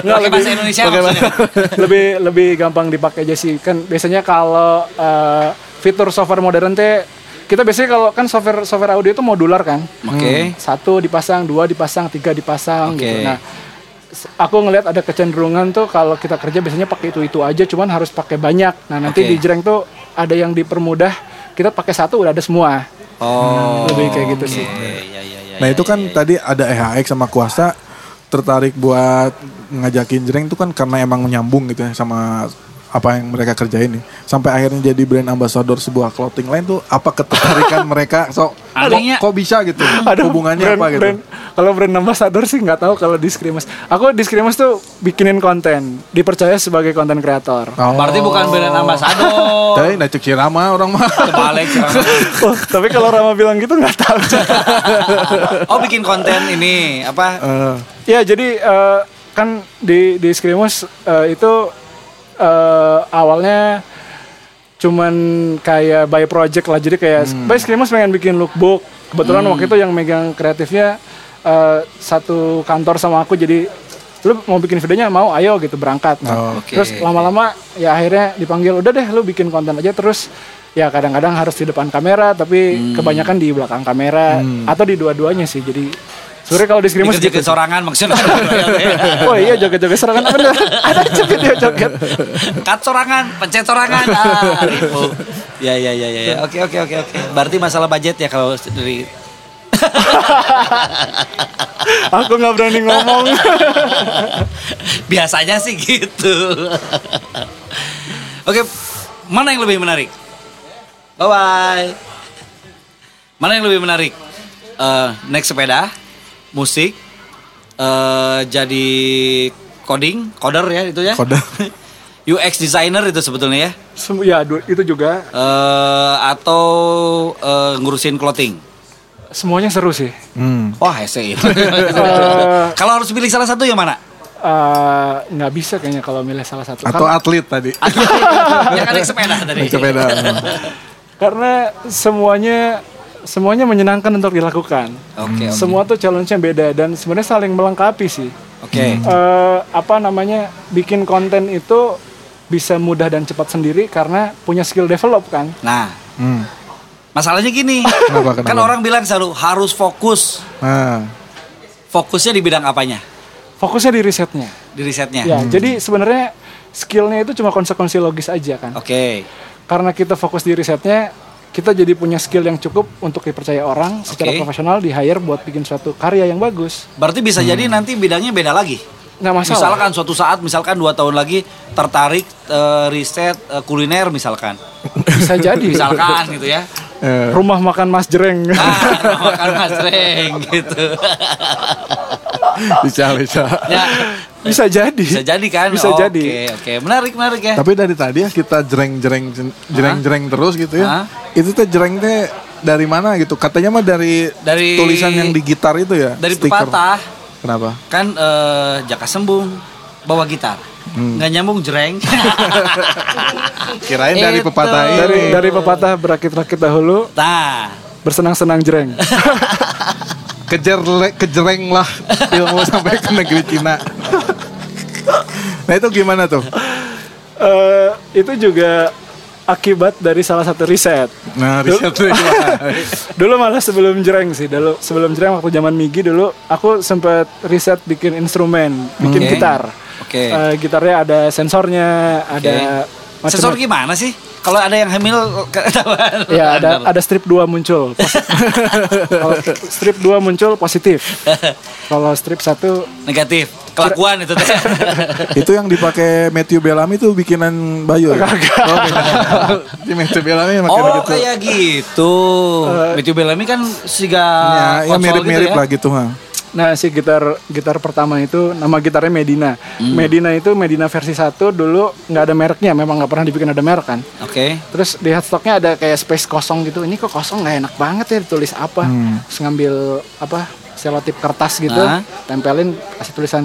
Speaker 2: Pakai bahasa Indonesia maksudnya.
Speaker 4: Hmm. lebih lebih gampang dipakai aja sih kan biasanya kalau eh, fitur software modern teh kita biasanya kalau kan software software audio itu modular kan
Speaker 2: Oke.
Speaker 4: satu dipasang dua dipasang tiga dipasang
Speaker 2: Oke.
Speaker 4: gitu nah s- aku ngelihat ada kecenderungan tuh kalau kita kerja biasanya pakai itu itu aja cuman harus pakai banyak nah nanti
Speaker 2: Oke.
Speaker 4: di jereng tuh ada yang dipermudah kita pakai satu udah ada semua
Speaker 2: Oh.
Speaker 4: lebih kayak gitu sih
Speaker 2: Iya, iya, iya, iya,
Speaker 1: nah
Speaker 2: iya,
Speaker 1: itu kan
Speaker 2: iya, iya.
Speaker 1: tadi ada EHX sama kuasa tertarik buat ngajakin jreng itu kan karena emang menyambung gitu ya sama apa yang mereka kerjain nih. Sampai akhirnya jadi brand ambassador sebuah clothing line tuh apa ketertarikan mereka? So,
Speaker 2: Adanya-
Speaker 1: kok, kok bisa gitu?
Speaker 4: Aduh,
Speaker 1: Hubungannya
Speaker 4: brand-
Speaker 1: apa gitu?
Speaker 4: brand- kalau brand ambassador sih nggak tahu kalau diskrimas. Aku diskrimas tuh bikinin konten, dipercaya sebagai konten kreator.
Speaker 1: Oh.
Speaker 2: Berarti bukan brand ambassador.
Speaker 1: Tapi nah cek Rama orang mah.
Speaker 2: Kebalik. serangan.
Speaker 4: Oh, tapi kalau Rama bilang gitu nggak tahu.
Speaker 2: Oh bikin konten ini apa?
Speaker 1: Eh,
Speaker 4: ya jadi eh, kan di di Skrimus, eh, itu eh, awalnya cuman kayak by project lah. Jadi kayak by Skrimus pengen bikin lookbook. Kebetulan waktu itu yang megang kreatifnya eh, satu kantor sama aku jadi lu mau bikin videonya mau ayo gitu berangkat Nah,
Speaker 1: Oh,
Speaker 2: oke.
Speaker 4: terus lama-lama ya akhirnya dipanggil udah deh lu bikin konten aja terus ya kadang-kadang harus di depan kamera tapi kebanyakan di belakang kamera atau di dua-duanya sih jadi sebenarnya kalau di skrimus
Speaker 2: Dikerjain
Speaker 4: gitu
Speaker 2: sorangan maksudnya.
Speaker 4: oh iya joget-joget serangan bener ada joget ya joget
Speaker 2: Cut sorangan, pencet sorangan. Ah, ribu. Ya ya ya ya. ya. Oke oke oke oke. Berarti masalah budget ya kalau dari
Speaker 4: aku nggak berani ngomong
Speaker 2: biasanya sih gitu. Oke, mana yang lebih menarik? Bye bye. Mana yang lebih menarik? Eh, naik sepeda, musik, eh, jadi coding, coder ya itu ya.
Speaker 1: Coder.
Speaker 2: UX designer itu sebetulnya ya.
Speaker 4: Sem- ya du- itu juga
Speaker 2: Eh, atau eh, ngurusin clothing.
Speaker 4: semuanya seru sih
Speaker 1: hmm.
Speaker 2: Wah, hese. ya. Kalau harus pilih salah satu yang mana?
Speaker 4: Eh, nggak bisa kayaknya kalau milih salah satu
Speaker 1: Atau
Speaker 4: Kan-
Speaker 1: atlet tadi.
Speaker 2: yang kan naik sepeda tadi.
Speaker 1: Naik sepeda.
Speaker 4: karena semuanya semuanya menyenangkan untuk dilakukan
Speaker 2: Oke, oke.
Speaker 4: semua tuh challenge-nya beda dan sebenarnya saling melengkapi sih
Speaker 2: Oke.
Speaker 4: eh apa namanya bikin konten itu bisa mudah dan cepat sendiri karena punya skill develop kan
Speaker 2: Nah,
Speaker 1: Hmm.
Speaker 2: Masalahnya gini,
Speaker 1: Kenapa, kenapa?
Speaker 2: kan orang bilang selalu harus fokus.
Speaker 1: Nah,
Speaker 2: Fokusnya di bidang apanya?
Speaker 4: fokusnya di risetnya
Speaker 2: Di risetnya.
Speaker 4: ya jadi sebenarnya skillnya itu cuma konsekuensi logis aja kan
Speaker 2: Oke,
Speaker 4: karena kita fokus di risetnya kita jadi punya skill yang cukup untuk dipercaya orang secara
Speaker 2: Oke.
Speaker 4: profesional di hire buat bikin suatu karya yang bagus
Speaker 2: berarti bisa jadi nanti bidangnya beda lagi.
Speaker 4: nggak masalah
Speaker 2: Misalkan suatu saat, misalkan dua tahun lagi tertarik eh, riset eh, kuliner misalkan,
Speaker 4: bisa jadi
Speaker 2: misalkan gitu ya.
Speaker 1: eh,
Speaker 4: rumah makan mas jereng
Speaker 2: Ah, makan mas Reng gitu.
Speaker 1: bisa bisa.
Speaker 2: ya,
Speaker 4: bisa jadi
Speaker 2: bisa jadi kan?
Speaker 4: bisa
Speaker 2: Oke,
Speaker 4: jadi
Speaker 2: Oke, menarik menarik ya.
Speaker 1: Tapi dari tadi ya kita jereng-jereng jereng-jereng terus gitu
Speaker 2: Hah?
Speaker 1: ya. Itu teh jereng teh dari mana gitu? Katanya mah dari,
Speaker 2: Dari-
Speaker 1: tulisan yang di gitar itu ya.
Speaker 2: Dari
Speaker 1: stiker.
Speaker 2: pepatah
Speaker 1: Kenapa?
Speaker 2: kan eh, jaka sembung bawa gitar.
Speaker 4: Hmm.
Speaker 2: Nggak nyambung jereng.
Speaker 1: Kirain dari
Speaker 2: Itu.
Speaker 1: pepatah ini.
Speaker 4: dari dari pepatah berakit-rakit dahulu
Speaker 2: Nah,
Speaker 4: bersenang-senang jereng
Speaker 1: Kejerle- kejereng lah ilmu sampai ke negeri Cina. nah itu gimana tuh?
Speaker 4: eh itu juga akibat dari salah satu riset.
Speaker 1: Nah, riset tuh gimana?
Speaker 4: Dulu malah sebelum jreng sih, dulu sebelum jreng waktu zaman Migi dulu aku sempat riset bikin instrumen, bikin
Speaker 2: Oke.
Speaker 4: gitar.
Speaker 2: Oke.
Speaker 4: Eh, gitarnya ada sensornya, ada macam-
Speaker 2: Sensor gimana sih? Kalau ada yang hamil ketahuan.
Speaker 4: Ya ada ada strip 2 muncul. Posi- Kalau strip 2 muncul positif. Kalau strip 1
Speaker 2: negatif. Kelakuan itu teh.
Speaker 1: itu yang dipakai Matthew Bellamy tuh bikinan Bayu ya? Oh, bukan. Di Matthew Bellamy yang pakai
Speaker 2: oh,
Speaker 1: begitu. Iya,
Speaker 2: kayak gitu.
Speaker 4: Eh.
Speaker 2: Matthew Bellamy kan siga
Speaker 4: Iya,
Speaker 1: Ya, ya
Speaker 2: konsol
Speaker 1: mirip-mirip
Speaker 2: gitu ya.
Speaker 1: lah gitu ha.
Speaker 4: Nah si gitar gitar pertama itu nama gitarnya Medina.
Speaker 2: Hmm.
Speaker 4: Medina itu Medina versi 1 dulu nggak ada mereknya, memang nggak pernah dibikin ada merek kan.
Speaker 2: Oke.
Speaker 4: Terus di headstocknya ada kayak space kosong gitu. Ini kok kosong nggak enak banget ya ditulis apa? Terus ngambil apa selotip kertas gitu,
Speaker 2: Ah.
Speaker 4: tempelin kasih tulisan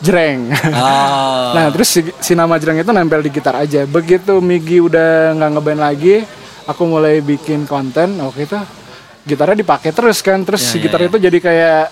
Speaker 4: jreng.
Speaker 2: Ah.
Speaker 4: Nah terus si, si nama jreng itu nempel di gitar aja. Begitu Migi udah nggak ngeband lagi, aku mulai bikin konten waktu itu gitarnya dipakai terus kan. Terus si gitar itu jadi kayak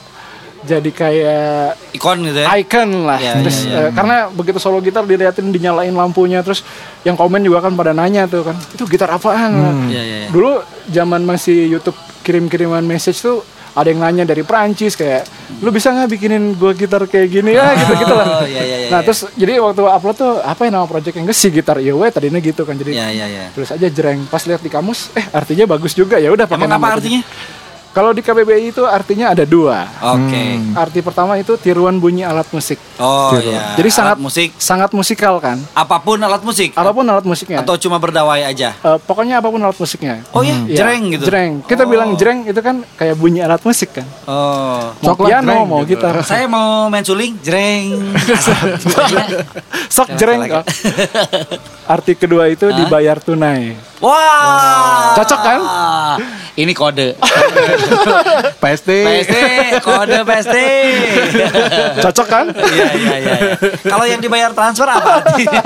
Speaker 4: jadi kayak
Speaker 2: Ikon gitu ya.
Speaker 4: icon lah.
Speaker 2: Iya,
Speaker 4: terus eh, karena begitu solo gitar diliatin dinyalain lampunya terus yang komen juga kan pada nanya tuh kan. Itu gitar apaan?
Speaker 2: Iya, iya, iya.
Speaker 4: Dulu zaman masih YouTube kirim-kiriman message tuh ada yang nanya dari Prancis kayak lu bisa nggak bikinin gua gitar kayak gini ya gitu gitu lah.
Speaker 2: iya, iya, iya,
Speaker 4: nah
Speaker 2: iya.
Speaker 4: terus jadi waktu upload tuh apa yang nama project yang si gitar iya weh tadinya gitu kan jadi
Speaker 2: Iya, iya, iya.
Speaker 4: terus aja jereng pas lihat di kamus eh artinya bagus juga ya udah pakai
Speaker 2: Emang
Speaker 4: nama
Speaker 2: apa
Speaker 4: tadi.
Speaker 2: artinya?
Speaker 4: Kalau di KBBI itu artinya ada dua.
Speaker 2: Oke.
Speaker 4: Arti pertama itu tiruan bunyi alat musik.
Speaker 2: Oh iya.
Speaker 4: gitu. Jadi
Speaker 2: Alat
Speaker 4: sangat
Speaker 2: musik
Speaker 4: sangat musikal kan.
Speaker 2: apapun alat musik
Speaker 4: Apapun alat ya? musiknya.
Speaker 2: atau cuma berdawai aja.
Speaker 4: Eh, pokoknya apapun alat musiknya.
Speaker 2: Oh iya,
Speaker 4: Iya,
Speaker 2: jreng gitu.
Speaker 4: Jreng.
Speaker 2: Oh.
Speaker 4: Kita bilang jreng itu kan kayak bunyi alat musik kan.
Speaker 2: Oh.
Speaker 4: Mau
Speaker 1: Coklat
Speaker 4: piano,
Speaker 1: jreng
Speaker 4: mau
Speaker 1: gitu.
Speaker 4: gitar.
Speaker 2: Saya mau main suling, jreng.
Speaker 4: Sok jreng.
Speaker 2: Coklat.
Speaker 4: Arti kedua itu dibayar tunai.
Speaker 2: Wah.
Speaker 4: Cocok kan?
Speaker 2: Ini kode.
Speaker 1: PST.
Speaker 2: PST, kode PST.
Speaker 4: Cocok kan?
Speaker 2: Iya, iya, iya. iya. Kalau yang dibayar transfer apa artinya?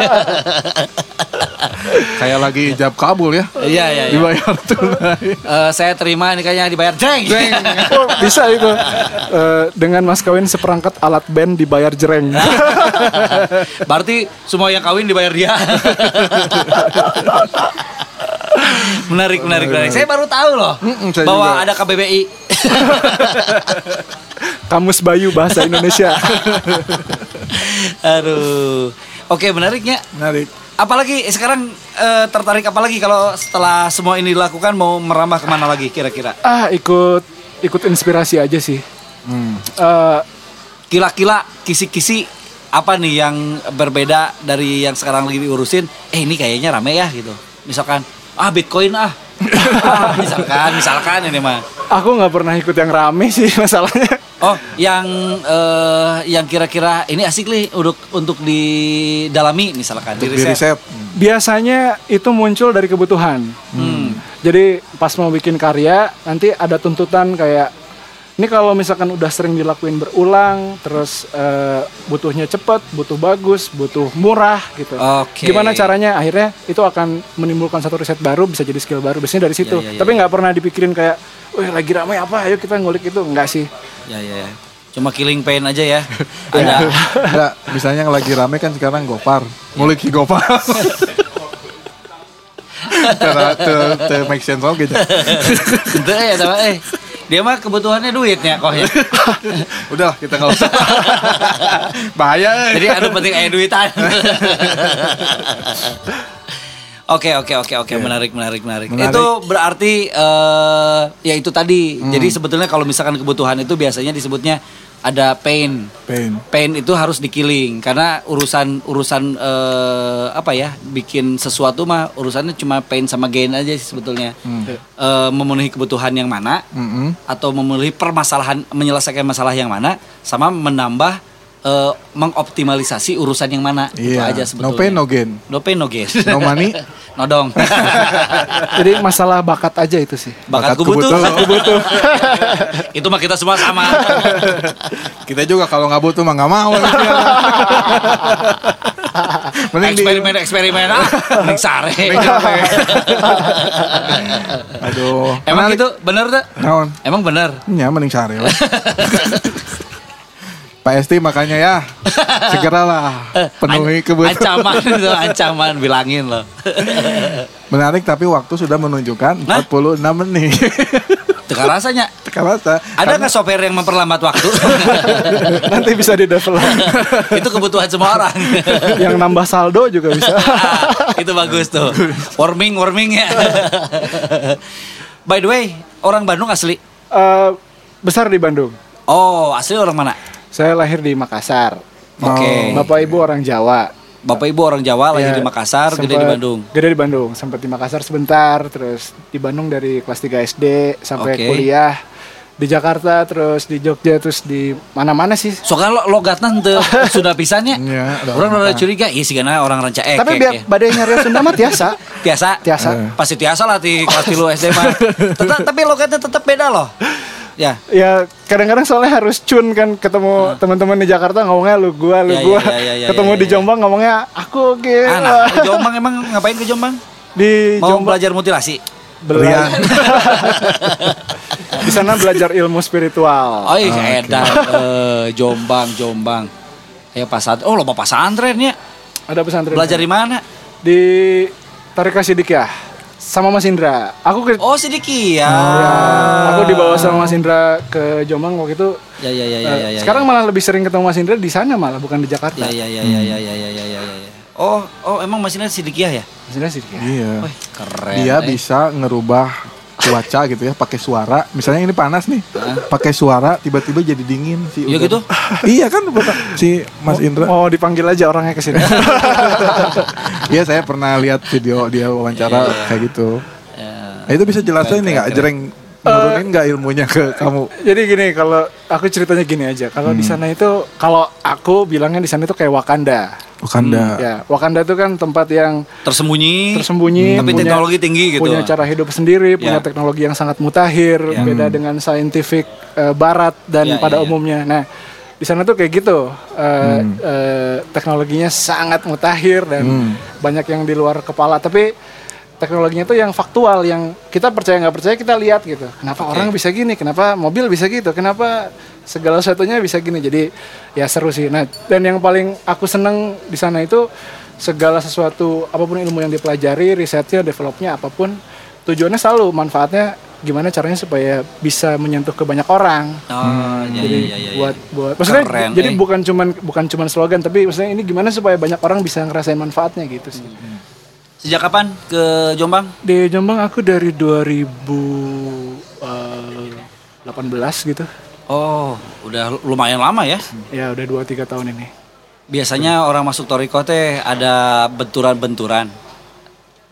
Speaker 1: Kayak lagi ijab kabul ya.
Speaker 2: Iya, iya, iya.
Speaker 1: Dibayar tunai.
Speaker 2: Eh, saya terima ini kayaknya dibayar jreng.
Speaker 4: Oh, bisa itu. Eh, dengan mas kawin seperangkat alat band dibayar jreng.
Speaker 2: Berarti semua yang kawin dibayar dia. menarik, menarik, menarik. Saya baru tahu loh
Speaker 1: Mm-mm, saya
Speaker 2: bahwa
Speaker 1: juga.
Speaker 2: ada KBBI.
Speaker 4: Kamus Bayu bahasa Indonesia.
Speaker 2: Aduh. Oke, menariknya.
Speaker 1: Menarik.
Speaker 2: Apalagi eh, sekarang eh, tertarik apalagi kalau setelah semua ini dilakukan mau merambah kemana lagi kira-kira?
Speaker 4: ah, ikut ikut inspirasi aja sih.
Speaker 2: Hmm.
Speaker 4: Eh,
Speaker 2: Kila-kila, kisi-kisi apa nih yang berbeda dari yang sekarang lagi diurusin? Eh ini kayaknya rame ya gitu. Misalkan ah Bitcoin ah. Ah, misalkan, misalkan ini mah.
Speaker 4: aku nggak pernah ikut yang rame sih masalahnya.
Speaker 2: Oh, yang eh, yang kira-kira ini asik nih untuk untuk didalami misalkan di
Speaker 1: Di
Speaker 2: riset.
Speaker 1: riset.
Speaker 4: biasanya itu muncul dari kebutuhan.
Speaker 2: Hmm.
Speaker 4: Jadi pas mau bikin karya nanti ada tuntutan kayak ini kalau misalkan udah sering dilakuin berulang, terus eh, butuhnya cepet, butuh bagus, butuh murah gitu.
Speaker 2: Oke.
Speaker 4: Gimana caranya? Akhirnya itu akan menimbulkan satu riset baru, bisa jadi skill baru. Biasanya dari situ.
Speaker 2: Ya, ya, ya,
Speaker 4: Tapi nggak pernah dipikirin kayak, wah lagi ramai apa? Ayo kita ngulik itu. Enggak sih.
Speaker 2: Ya ya. ya. Cuma killing pain aja ya. Ada
Speaker 1: Iya. Enggak, misalnya yang lagi rame kan sekarang Gopar.
Speaker 2: Iya.
Speaker 1: Muliki Gopar. Karena te, te make sense oke. Jack.
Speaker 2: Itu ya sama eh. Dia mah kebutuhannya duitnya kok ya.
Speaker 1: Udah kita nggak usah. Bahaya. eh.
Speaker 2: Jadi anu penting aya duitan. Oke oke oke oke menarik menarik menarik.
Speaker 1: Menarik.
Speaker 2: Itu berarti eh ya itu tadi. Jadi sebetulnya kalau misalkan kebutuhan itu biasanya disebutnya ada pain.
Speaker 1: Pain.
Speaker 2: Pain itu harus dikiling karena urusan urusan eh, apa ya bikin sesuatu mah urusannya cuma pain sama gain aja sih sebetulnya.
Speaker 1: Hmm.
Speaker 2: Eh, memenuhi kebutuhan yang mana
Speaker 1: Mm-mm.
Speaker 2: atau memenuhi permasalahan menyelesaikan masalah yang mana sama menambah eh, mengoptimalisasi urusan yang mana itu
Speaker 1: Iya.
Speaker 2: aja sebetulnya.
Speaker 1: No pain no gain.
Speaker 2: No pain no gain.
Speaker 1: No money.
Speaker 2: Nodong.
Speaker 4: Jadi masalah bakat aja itu sih.
Speaker 2: Bakatku butuh.
Speaker 1: Bakatku butuh.
Speaker 2: itu mah kita semua sama.
Speaker 1: Kita juga kalau nggak butuh mah nggak mau. Mending di-
Speaker 2: eksperimen eksperimen ah, mending sare.
Speaker 1: Mending sare. Aduh.
Speaker 2: Emang gitu?
Speaker 1: gitu?
Speaker 2: itu
Speaker 1: Menarik.
Speaker 2: bener tuh?
Speaker 1: Naon?
Speaker 2: Emang bener.
Speaker 1: Ya mending sare. lah. Pak Esti makanya ya segeralah
Speaker 2: Eh,
Speaker 1: penuhi
Speaker 2: An-
Speaker 1: kebutuhan.
Speaker 2: Ancaman itu ancaman bilangin loh.
Speaker 1: Menarik tapi waktu sudah menunjukkan
Speaker 2: Nah.
Speaker 1: 46 menit.
Speaker 2: Teka rasanya
Speaker 1: Sekarang saya-
Speaker 2: ada nggak sopir yang memperlambat waktu?
Speaker 4: Nanti bisa di develop.
Speaker 2: itu kebutuhan semua orang.
Speaker 4: Yang nambah saldo juga bisa.
Speaker 2: Ah, itu bagus tuh. Warming warming ya. By the way, orang Bandung asli.
Speaker 4: Eh, besar di Bandung.
Speaker 2: Oh, asli orang mana?
Speaker 4: Saya lahir di Makassar.
Speaker 2: Oke.
Speaker 4: Bapak ibu orang Jawa.
Speaker 2: Bapak Ibu orang Jawa lahir
Speaker 4: Ya,
Speaker 2: di Makassar, gede di
Speaker 4: sempat-
Speaker 2: Bandung.
Speaker 4: Gede di Bandung, sempat di Makassar sebentar, terus di Bandung dari kelas 3 SD sampai
Speaker 2: Oke.
Speaker 4: kuliah di Jakarta, terus di Jogja, terus di mana-mana sih.
Speaker 2: Soalnya lo logatna henteu sudah pisannya.
Speaker 1: Iya, udah
Speaker 2: orang udah curiga, iya sih karena orang ranca ekek.
Speaker 4: Tapi biar
Speaker 2: ya.
Speaker 4: badai nyari ya, Sunda mah tiasa.
Speaker 2: Tiasa. Eh.
Speaker 4: Tiasa.
Speaker 2: Pasti tiasa lah di kelas tilu SD mah. Tetap- tapi logatnya tetap beda loh. Ya.
Speaker 4: Ya kadang-kadang soalnya harus cun kan ketemu teman-teman di Jakarta ngomongnya lu gua
Speaker 2: Hmm.
Speaker 4: lu
Speaker 2: Ya,
Speaker 4: gua.
Speaker 2: ya, ya, ya, ya,
Speaker 4: ketemu
Speaker 2: ya,
Speaker 4: di
Speaker 2: ya.
Speaker 4: Jombang ngomongnya aku gitu.
Speaker 2: Ah, nah, ke Jombang emang ngapain ke Jombang?
Speaker 4: di
Speaker 2: Mau
Speaker 4: Jombang
Speaker 2: belajar mutilasi.
Speaker 4: belajar. di sana belajar ilmu spiritual.
Speaker 2: Oh iya, edan. Eh, Jombang, Jombang. Ayo pasantren. Oh, loba pasantren ya.
Speaker 4: Ada pesantren.
Speaker 2: Belajar di mana?
Speaker 4: di Tarika Sidik ya sama Mas Indra. Aku ke
Speaker 2: Oh, Sidiki ya.
Speaker 4: aku dibawa sama Mas Indra ke Jombang waktu itu.
Speaker 2: Ya ya ya ya
Speaker 4: Eh,
Speaker 2: ya. ya
Speaker 4: Sekarang malah lebih sering ketemu Mas Indra di sana malah bukan di Jakarta.
Speaker 2: Ya ya ya ya ya ya ya ya ya. ya. Oh, oh emang masih ada Sidikiah ya?
Speaker 4: Mas Indra Sidik ya.
Speaker 1: Iya.
Speaker 2: Wih, keren.
Speaker 1: Dia
Speaker 2: eh.
Speaker 1: bisa ngerubah cuaca gitu ya pakai suara. Misalnya ini panas nih. Pakai suara tiba-tiba jadi dingin si
Speaker 2: Ya
Speaker 1: udara.
Speaker 2: gitu?
Speaker 1: iya kan betul. si Mas Indra.
Speaker 4: Mau dipanggil aja orangnya ke sini.
Speaker 1: Iya saya pernah lihat video dia wawancara
Speaker 2: Iya.
Speaker 1: kayak gitu.
Speaker 2: Ya.
Speaker 1: Nah, itu bisa jelasin nih nggak jereng nurunin nggak ilmunya ke kamu?
Speaker 4: Jadi gini kalau aku ceritanya gini aja. Kalau di
Speaker 1: Hmm.
Speaker 4: sana itu kalau aku bilangnya di sana itu kayak Wakanda.
Speaker 1: Bukan dah.
Speaker 4: Ya, Wakanda itu kan tempat yang
Speaker 2: Tersembunyi.
Speaker 4: tersembunyi
Speaker 2: Tapi
Speaker 4: punya-
Speaker 2: teknologi tinggi gitu.
Speaker 4: punya cara hidup sendiri
Speaker 2: Ya.
Speaker 4: punya teknologi yang sangat mutakhir beda dengan scientific eh, barat
Speaker 2: Ya,
Speaker 4: dan
Speaker 2: ya, ya.
Speaker 4: pada umumnya nah di sana tuh kayak gitu eh, eh, teknologinya sangat mutakhir dan banyak yang di luar kepala tapi teknologinya tuh yang faktual yang kita percaya nggak percaya kita lihat gitu kenapa orang bisa gini kenapa mobil bisa gitu kenapa segala sesuatunya bisa gini jadi ya seru sih nah dan yang paling aku seneng di sana itu segala sesuatu apapun ilmu yang dipelajari risetnya developnya apapun tujuannya selalu manfaatnya gimana caranya supaya bisa menyentuh ke banyak orang
Speaker 2: Oh, ya,
Speaker 4: jadi
Speaker 2: ya, ya, ya, ya.
Speaker 4: buat buat maksudnya
Speaker 2: Keren,
Speaker 4: jadi
Speaker 2: eh.
Speaker 4: bukan cuman bukan cuman slogan tapi maksudnya ini gimana supaya banyak orang bisa ngerasain manfaatnya gitu sih
Speaker 2: Sejak kapan ke Jombang?
Speaker 4: di Jombang aku dari 2018 gitu
Speaker 2: Oh, udah lumayan lama ya.
Speaker 4: ya udah 2-3 tahun ini
Speaker 2: Biasanya orang masuk Toriko teh ada benturan-benturan.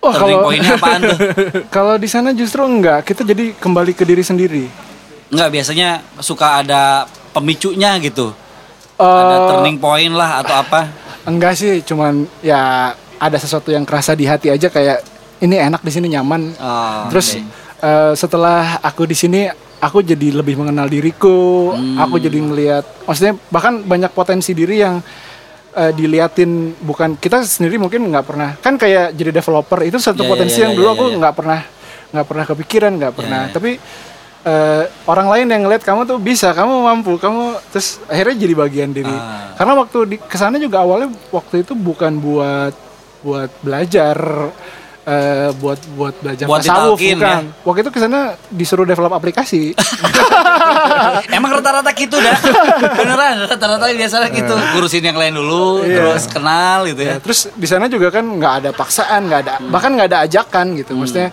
Speaker 4: oh
Speaker 2: Turning
Speaker 4: kalau
Speaker 2: pointnya apaan tuh?
Speaker 4: kalau di sana justru enggak kita jadi kembali ke diri sendiri
Speaker 2: Enggak, biasanya suka ada pemicunya gitu. ada
Speaker 4: Eh,
Speaker 2: turning point lah atau apa.
Speaker 4: Enggak sih, cuman ya ada sesuatu yang kerasa di hati aja kayak ini enak di sini nyaman.
Speaker 2: Ah,
Speaker 4: Terus
Speaker 2: oke.
Speaker 4: eh, setelah aku di sini aku jadi lebih mengenal diriku,
Speaker 2: Hmm.
Speaker 4: aku jadi ngelihat maksudnya bahkan banyak potensi diri yang eh, diliatin bukan kita sendiri mungkin nggak pernah kan kayak jadi developer itu
Speaker 2: Ya,
Speaker 4: satu
Speaker 2: ya,
Speaker 4: potensi
Speaker 2: ya,
Speaker 4: yang
Speaker 2: ya,
Speaker 4: dulu
Speaker 2: ya,
Speaker 4: aku
Speaker 2: ya.
Speaker 4: nggak pernah nggak pernah kepikiran nggak pernah tapi eh, orang lain yang ngeliat kamu tuh bisa kamu mampu kamu terus akhirnya jadi bagian diri
Speaker 2: Ah.
Speaker 4: karena waktu di kesana juga awalnya waktu itu bukan buat buat belajar eh, buat buat belajar
Speaker 2: Buat
Speaker 4: tasawuf
Speaker 2: ditalkin,
Speaker 4: bukan waktu itu kesana disuruh develop aplikasi
Speaker 2: Emang rata-rata gitu dah. Beneran, rata-rata biasanya gitu. Ngurusin yang lain dulu, terus kenal gitu ya.
Speaker 4: Ya, terus di sana juga kan nggak ada paksaan, nggak ada bahkan nggak ada ajakan gitu. Maksudnya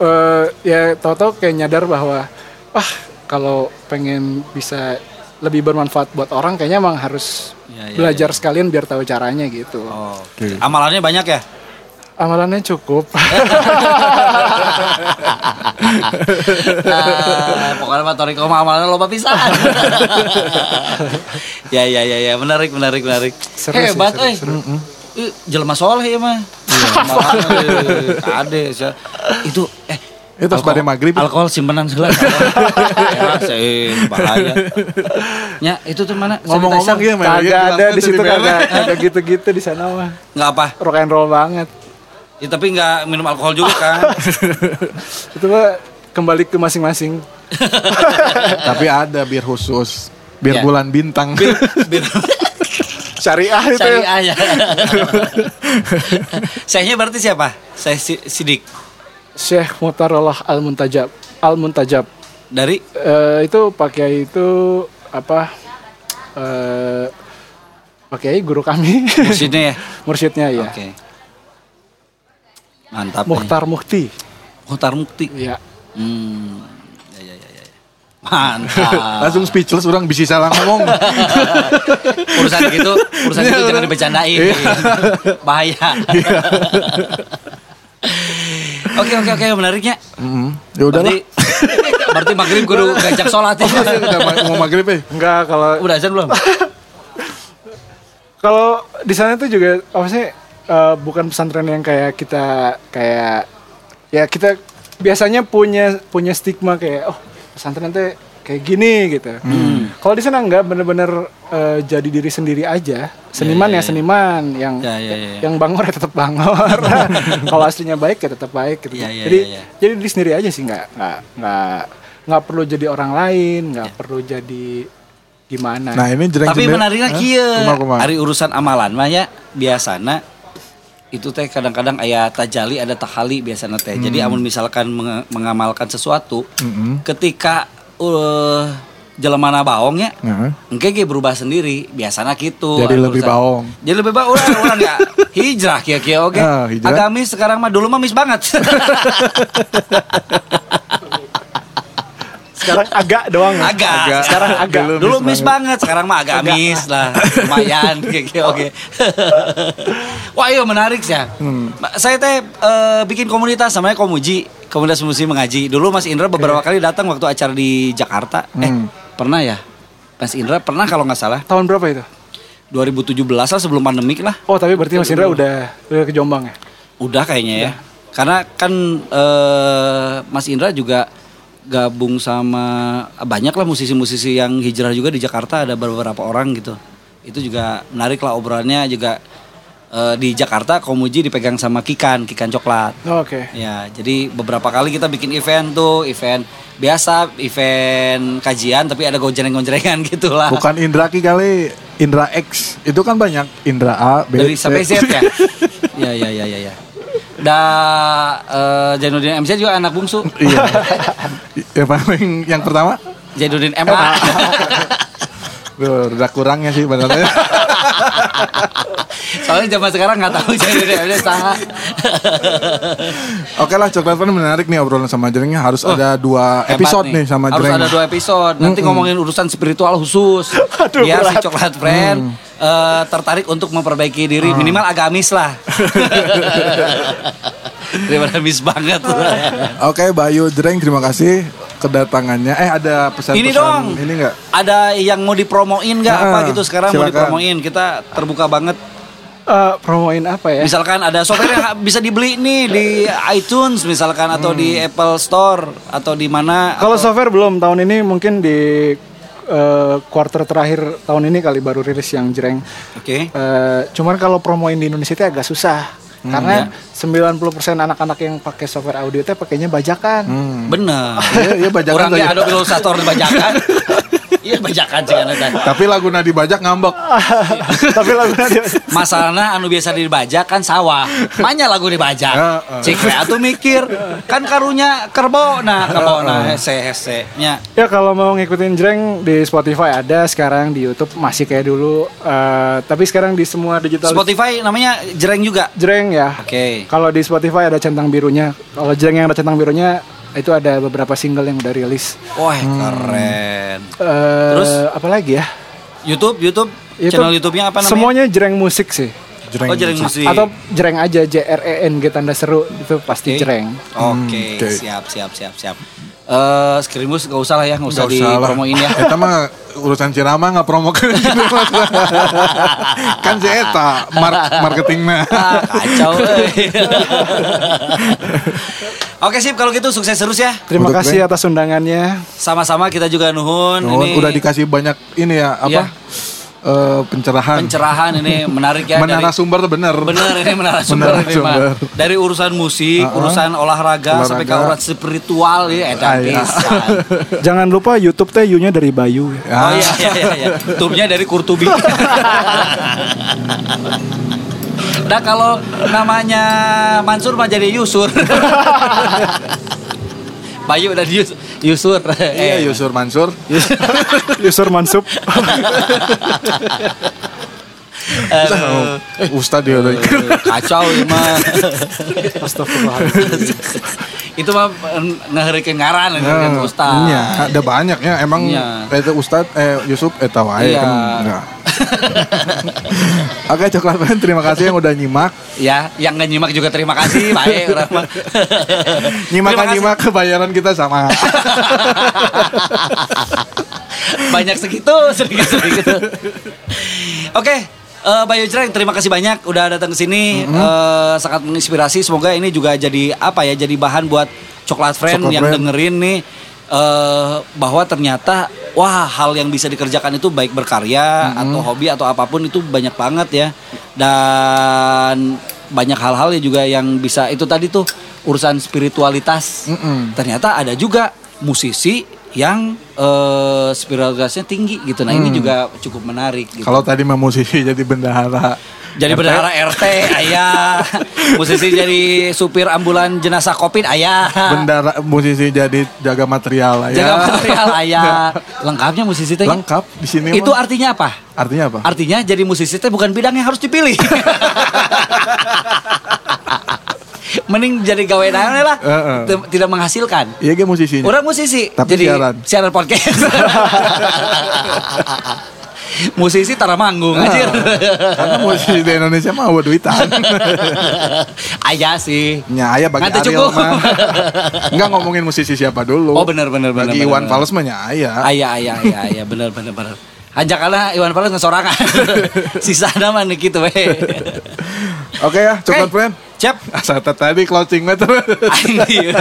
Speaker 4: eh ya tahu-tahu kayak nyadar bahwa wah kalau pengen bisa lebih bermanfaat buat orang kayaknya emang harus
Speaker 2: Ya, ya,
Speaker 4: belajar sekalian biar tahu caranya gitu.
Speaker 2: Oh, Amalannya banyak ya?
Speaker 4: Amalannya cukup.
Speaker 2: Ah, pokoknya mah Toriko mah amalannya loba pisan. ya ya ya ya, menarik menarik menarik. Eh,
Speaker 4: Seru sih,
Speaker 2: Hebat
Speaker 4: seru, Iya,
Speaker 2: euy. Ih, mm, Jelema soleh ya mah. Ade sia. Itu eh
Speaker 1: Itu pas
Speaker 2: alkohol-
Speaker 1: pada maghrib.
Speaker 2: Alkohol simpenan segala. Ya, sih, bahaya. Ya, itu tuh mana?
Speaker 1: Ngomong-ngomong
Speaker 2: Sanitizer?
Speaker 1: gini, Mel,
Speaker 4: kagak
Speaker 1: ya,
Speaker 4: ada iya,
Speaker 1: jadi
Speaker 4: di situ
Speaker 1: merah.
Speaker 4: kagak kagak gitu-gitu di sana mah.
Speaker 2: Nggak apa.
Speaker 4: Rock and roll banget.
Speaker 2: Ya, tapi nggak minum alkohol juga kan.
Speaker 4: Itu mah kembali ke masing-masing.
Speaker 1: Tapi ada bir khusus
Speaker 2: Iya.
Speaker 1: biar bulan bintang
Speaker 4: Syariah itu.
Speaker 2: Cari
Speaker 4: ya.
Speaker 2: aja. Syekhnya berarti siapa? Syekh Si- Sidik
Speaker 4: Syekh Mutarallah Al Muntajab. Al Muntajab.
Speaker 2: dari
Speaker 4: Eh, itu pakai itu apa? Eh pakai guru kami.
Speaker 2: sini ya.
Speaker 4: Mursyidnya ya.
Speaker 2: Oke. Mantap. nih.
Speaker 4: Mukhtar Mukhti.
Speaker 2: Mukhtar Mukti.
Speaker 4: Ya.
Speaker 2: Hmm. Ya, ya, ya, ya. ya. Mantap.
Speaker 1: langsung speechless orang bisa salah ngomong
Speaker 2: urusan gitu, urusan
Speaker 4: Iya.
Speaker 2: gitu jangan dibercandain. Bahaya. Oke oke oke menariknya.
Speaker 1: Mm, ya udahlah
Speaker 2: Berarti, berarti maghrib kudu ngajak sholat
Speaker 4: Oh,
Speaker 2: ya.
Speaker 1: udah ma- mau maghrib ya
Speaker 4: Enggak kalau
Speaker 2: Udah azan belum?
Speaker 4: Kalau di sana tuh juga apa sih eh, bukan pesantren yang kayak kita kayak ya kita biasanya punya punya stigma kayak oh pesantren tuh kayak gini gitu.
Speaker 2: Hmm.
Speaker 4: Kalau di sana nggak bener-bener eh, jadi diri sendiri aja. Seniman ya, seniman yang
Speaker 2: Ya, ya, ya, ya.
Speaker 4: yang bangor ya tetap bangor. Kalau aslinya baik ya tetap baik gitu.
Speaker 2: Ya, ya,
Speaker 4: jadi
Speaker 2: ya, ya.
Speaker 4: jadi diri sendiri aja sih nggak nggak nggak nggak perlu jadi orang lain, nggak
Speaker 2: Ya.
Speaker 4: perlu jadi gimana.
Speaker 1: nah ini jereng
Speaker 2: Tapi menariknya kieu.
Speaker 1: kumaha
Speaker 2: Hari urusan amalan mah ya biasana itu teh kadang-kadang aya tajali ada tahali biasana teh. Jadi
Speaker 1: Hmm.
Speaker 2: amun misalkan menge- mengamalkan sesuatu ketika eh jelemana baongnya
Speaker 1: Heeh.
Speaker 2: Engke ge berubah sendiri, biasanya gitu.
Speaker 1: Hmm. Jadi
Speaker 2: Anu
Speaker 1: lebih
Speaker 2: urusan.
Speaker 1: baong.
Speaker 2: Jadi lebih baong orang orang ya. Hijrah kia kia oke.
Speaker 1: Ah, hijrah.
Speaker 2: Agamis sekarang mah dulu mah mis banget.
Speaker 4: Sekarang agak doang. ya?
Speaker 2: agak. Sekarang agak.
Speaker 1: Dulu
Speaker 2: Dulu, miss
Speaker 1: miss
Speaker 2: banget. sekarang mah agak miss lah. Lumayan kia kia oke. Wah, iya menarik sih. ya. Ma- Saya teh eh, bikin komunitas namanya Komuji, komunitas musik mengaji. Dulu Mas Indra beberapa kali datang waktu acara di Jakarta. Eh, pernah ya? Mas Indra pernah kalau nggak salah
Speaker 4: Tahun berapa itu?
Speaker 2: 2017 lah sebelum pandemik lah.
Speaker 4: Oh tapi berarti Mas Indra udah udah ke Jombang ya?
Speaker 2: Udah kayaknya ya. Karena kan eh, Mas Indra juga gabung sama banyak lah musisi-musisi yang hijrah juga di Jakarta ada beberapa orang gitu. Itu juga menarik lah obrolannya juga eh, di Jakarta Komuji dipegang sama Kikan, Kikan Coklat.
Speaker 4: Oh, Oke.
Speaker 2: Ya, jadi beberapa kali kita bikin event tuh, event biasa, event kajian tapi ada gonjreng-gonjrengan gitu lah.
Speaker 1: bukan Indra Ki kali Indra X itu kan banyak Indra A B
Speaker 2: dari
Speaker 1: C.
Speaker 2: sampai Z ya. ya ya ya ya ya. Da eh, Jainuddin MC juga anak bungsu.
Speaker 1: iya ya paling yang pertama
Speaker 2: Jainuddin MA.
Speaker 1: Duh, udah kurangnya sih benernya
Speaker 2: Soalnya zaman sekarang nggak tahu Jainuddin MC saha.
Speaker 1: Oke lah, Coklat Fun menarik nih obrolan sama Jerengnya. Harus ada dua
Speaker 2: Oh, Hebat
Speaker 1: episode nih. sama
Speaker 2: Harus
Speaker 1: Jereng.
Speaker 2: ada dua episode. Nanti ngomongin urusan spiritual khusus. Biar si coklat friend
Speaker 1: Mm.
Speaker 2: eh, tertarik untuk memperbaiki diri minimal agamis lah. Daripada miss banget.
Speaker 1: Oke, Bayu Jereng, terima kasih kedatangannya. Eh, ada pesan-pesan
Speaker 2: Ini dong.
Speaker 1: Ini enggak?
Speaker 2: Ada yang mau dipromoin nggak apa
Speaker 1: Ah,
Speaker 2: gitu sekarang mau
Speaker 1: silakan.
Speaker 2: dipromoin. Kita terbuka banget.
Speaker 4: Eh, promoin apa ya?
Speaker 2: Misalkan ada software yang bisa dibeli nih di iTunes misalkan atau di
Speaker 4: Hmm.
Speaker 2: Apple Store atau di mana.
Speaker 4: Kalau software belum tahun ini mungkin di eh, quarter terakhir tahun ini kali baru rilis yang jereng.
Speaker 2: Oke.
Speaker 4: Eh, cuman kalau promoin di Indonesia itu agak susah. Karena 90% anak-anak yang pakai software audio itu pakainya bajakan.
Speaker 2: Bener.
Speaker 1: Iya, iya, bajakan
Speaker 2: Orang
Speaker 1: lagi.
Speaker 2: dia ada ilustrator bajakan. Iya bajakan sih karena teh.
Speaker 1: Tapi lagu Nadi Bajak ngambek.
Speaker 2: Oh,
Speaker 4: Tapi lagunya dia
Speaker 2: Masalahnya anu biasa dibajak kan sawah. Manya lagu dibajak.
Speaker 1: Heeh.
Speaker 2: Cik we atuh mikir kan karunya kerbo nah kerbo nah hese hese nya.
Speaker 4: Ya kalau mau ngikutin Jreng di Spotify ada, sekarang di YouTube masih kayak dulu. Eh, tapi sekarang di semua digital
Speaker 2: Spotify namanya jereng juga.
Speaker 4: Jreng ya.
Speaker 2: Oke.
Speaker 4: Kalau di Spotify ada centang birunya. Kalau Jreng yang ada centang birunya itu ada beberapa single yang udah rilis.
Speaker 2: Wah
Speaker 4: Hmm.
Speaker 2: keren.
Speaker 4: Eh,
Speaker 2: Terus?
Speaker 4: apa lagi ya?
Speaker 2: YouTube YouTube,
Speaker 4: YouTube-
Speaker 2: channel YouTube-nya apa namanya?
Speaker 4: Semuanya Jreng musik sih.
Speaker 1: Jereng.
Speaker 2: Oh jereng musik.
Speaker 4: Atau Jreng aja J R E N G tanda seru itu pasti
Speaker 2: Oke.
Speaker 4: Jreng.
Speaker 2: Oke,
Speaker 1: Hmm, oke.
Speaker 2: siap, siap, siap, siap. Eh, Skrimus gak usah lah ya, gak usah, dipromoin ya.
Speaker 1: Kita mah urusan Cirama nggak promo ke kan si Eta mar marketingnya
Speaker 2: Ah, kacau. eh. Oke sip, kalau gitu sukses terus ya.
Speaker 4: Terima
Speaker 1: Untuk
Speaker 4: kasih atas undangannya.
Speaker 2: Sama-sama kita juga nuhun. ini.
Speaker 1: Nuhun, udah dikasih banyak ini ya apa
Speaker 2: Iya.
Speaker 1: eh, pencerahan.
Speaker 2: pencerahan ini menarik ya dari-
Speaker 1: Menara sumber tuh bener.
Speaker 2: Bener ini menara sumber ini mah.
Speaker 1: Menarasumber.
Speaker 2: Dari urusan musik, urusan olahraga, sampai ke
Speaker 1: Olahraga.
Speaker 2: urusan spiritual ya edan
Speaker 1: Ah, iya.
Speaker 2: pisan.
Speaker 4: Jangan lupa YouTube teh nya dari Bayu.
Speaker 1: Ya. Ah.
Speaker 2: Oh iya iya iya iya. Turnya dari Kurtubi. Nah kalau namanya Mansur mah jadi Yusur. Bayu dan Yus, Yusur. Eh,
Speaker 1: Iya, Yusur Mansur.
Speaker 4: User Mansup.
Speaker 2: aduh.
Speaker 1: Eh, Ustadz dia lagi.
Speaker 2: Kacau ini mah.
Speaker 4: Astagfirullahaladzim.
Speaker 2: Itu mah ngeherikan ngaran ngeherikan ustaz.
Speaker 1: Ah, Iya, ada banyaknya emang
Speaker 2: Iya.
Speaker 1: itu Ustadz eh Yusuf eta wae
Speaker 2: Iya.
Speaker 1: kan. enggak. Oke, coklat men, terima kasih yang udah nyimak.
Speaker 2: Ya, yang nggak nyimak juga terima kasih, baik orang mah. Terima
Speaker 1: Nyimak
Speaker 2: kasih.
Speaker 1: nyimak kebayaran kita sama.
Speaker 2: Banyak segitu, sedikit segitu. Oke, eh, Bayu Jreng, terima kasih banyak udah datang ke sini.
Speaker 1: Mm-hmm.
Speaker 2: Eh, sangat menginspirasi. Semoga ini juga jadi apa ya? Jadi bahan buat coklat friend
Speaker 1: Coklat
Speaker 2: yang
Speaker 1: Friend.
Speaker 2: dengerin nih eh, bahwa ternyata wah hal yang bisa dikerjakan itu baik berkarya
Speaker 1: Mm-hmm.
Speaker 2: atau hobi atau apapun itu banyak banget ya. Dan banyak hal-hal yang juga yang bisa itu tadi tuh urusan spiritualitas.
Speaker 1: Mm-mm.
Speaker 2: Ternyata ada juga musisi yang eh, spiritualitasnya tinggi gitu. Nah, ini juga cukup menarik gitu.
Speaker 1: Mm. Kalau tadi mah musisi jadi bendahara.
Speaker 2: Jadi bendahara RT ayah, musisi jadi supir ambulan jenazah Covid ayah,
Speaker 1: Bendara musisi jadi jaga material ya.
Speaker 2: jaga material ayah, lengkapnya musisi teh.
Speaker 1: Lengkap di sini.
Speaker 2: Itu
Speaker 1: mah.
Speaker 2: artinya apa?
Speaker 1: artinya apa?
Speaker 2: Artinya jadi musisi teh bukan bidang yang harus dipilih. Mending jadi gawe naon lah,
Speaker 1: Heeh.
Speaker 2: Tem- tidak menghasilkan.
Speaker 1: Iya ge musisinya.
Speaker 2: Orang musisi,
Speaker 1: Tapi
Speaker 2: jadi
Speaker 1: siaran.
Speaker 2: podcast. musisi tara manggung anjir.
Speaker 1: Karena musisi di Indonesia mah bawa duitan.
Speaker 2: Ayah sih.
Speaker 1: Nya aya bagi
Speaker 2: Nanti
Speaker 1: Ariel
Speaker 2: cukup.
Speaker 1: mah. Enggak ngomongin musisi siapa dulu.
Speaker 2: Oh, bener, bener, bener,
Speaker 1: Bagi
Speaker 2: bener, bener.
Speaker 1: Iwan Fals mah nya ya. aya.
Speaker 2: Ayah, ayah, ayah, ayah, bener, bener, bener. Hanjakana Iwan Fals ngesorangan. Sisa nama nih gitu we.
Speaker 1: Oke ya, coklat
Speaker 2: Oke.
Speaker 1: friend.
Speaker 2: Cep.
Speaker 1: Asal tadi closing meter.
Speaker 2: Anjir.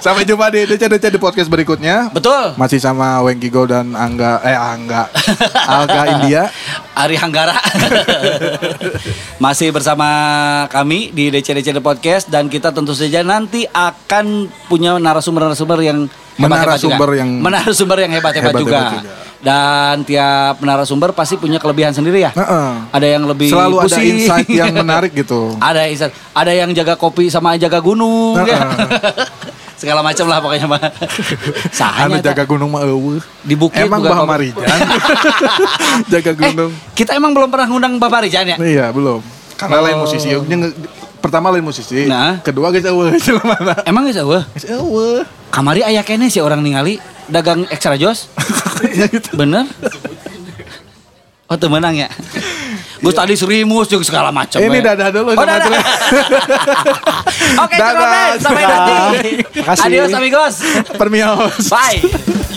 Speaker 1: Sampai jumpa di DC-DC di podcast berikutnya.
Speaker 2: Betul.
Speaker 1: Masih sama Wengki Go dan Angga eh Angga Alga India.
Speaker 2: Ari Hanggara. Masih bersama kami di DCDC The Podcast dan kita tentu saja nanti akan punya narasumber-narasumber yang hebat-hebat
Speaker 1: Menarasumber
Speaker 2: juga.
Speaker 1: yang-
Speaker 2: menarasumber yang hebat-hebat
Speaker 1: Hebat-hebat
Speaker 2: juga.
Speaker 1: juga.
Speaker 2: Dan tiap narasumber pasti punya kelebihan sendiri ya.
Speaker 1: Heeh.
Speaker 2: Ada yang lebih
Speaker 1: Nah, Selalu ada
Speaker 2: pusing.
Speaker 1: insight yang menarik gitu.
Speaker 2: ada insight. Ada yang jaga kopi sama jaga gunung.
Speaker 1: Nah,
Speaker 2: ya.
Speaker 1: ah. Heeh.
Speaker 2: Segala macam lah pokoknya mah.
Speaker 1: Anu
Speaker 2: Sahanya
Speaker 1: jaga gunung mah eueuh.
Speaker 2: Di bukit
Speaker 1: Emang
Speaker 2: bukan
Speaker 1: Bah
Speaker 2: apa-
Speaker 1: Marijan. jaga
Speaker 2: Eh,
Speaker 1: gunung.
Speaker 2: kita emang belum pernah ngundang Bapak Rijan ya?
Speaker 1: Iya, belum. Karena
Speaker 2: Oh.
Speaker 1: lain musisi. Nya nge- pertama lain musisi,
Speaker 2: Nah.
Speaker 1: kedua geus eueuh jelema.
Speaker 2: Emang geus eueuh?
Speaker 1: Geus eueuh.
Speaker 2: Kamari ayah kene sih orang ningali dagang ekstra jos.
Speaker 1: Ya gitu.
Speaker 2: Bener? Oh tuh menang ya. Gus tadi serimus juga segala macam.
Speaker 1: Ini
Speaker 2: ya.
Speaker 1: dadah dulu
Speaker 2: Oh,
Speaker 1: sama
Speaker 2: dadah.
Speaker 1: Ceren.
Speaker 2: Oke, cukup
Speaker 1: Dadah,
Speaker 2: men. sampai
Speaker 1: dadah.
Speaker 2: nanti.
Speaker 4: Makasih.
Speaker 2: Adios amigos.
Speaker 1: Permios.
Speaker 2: Bye.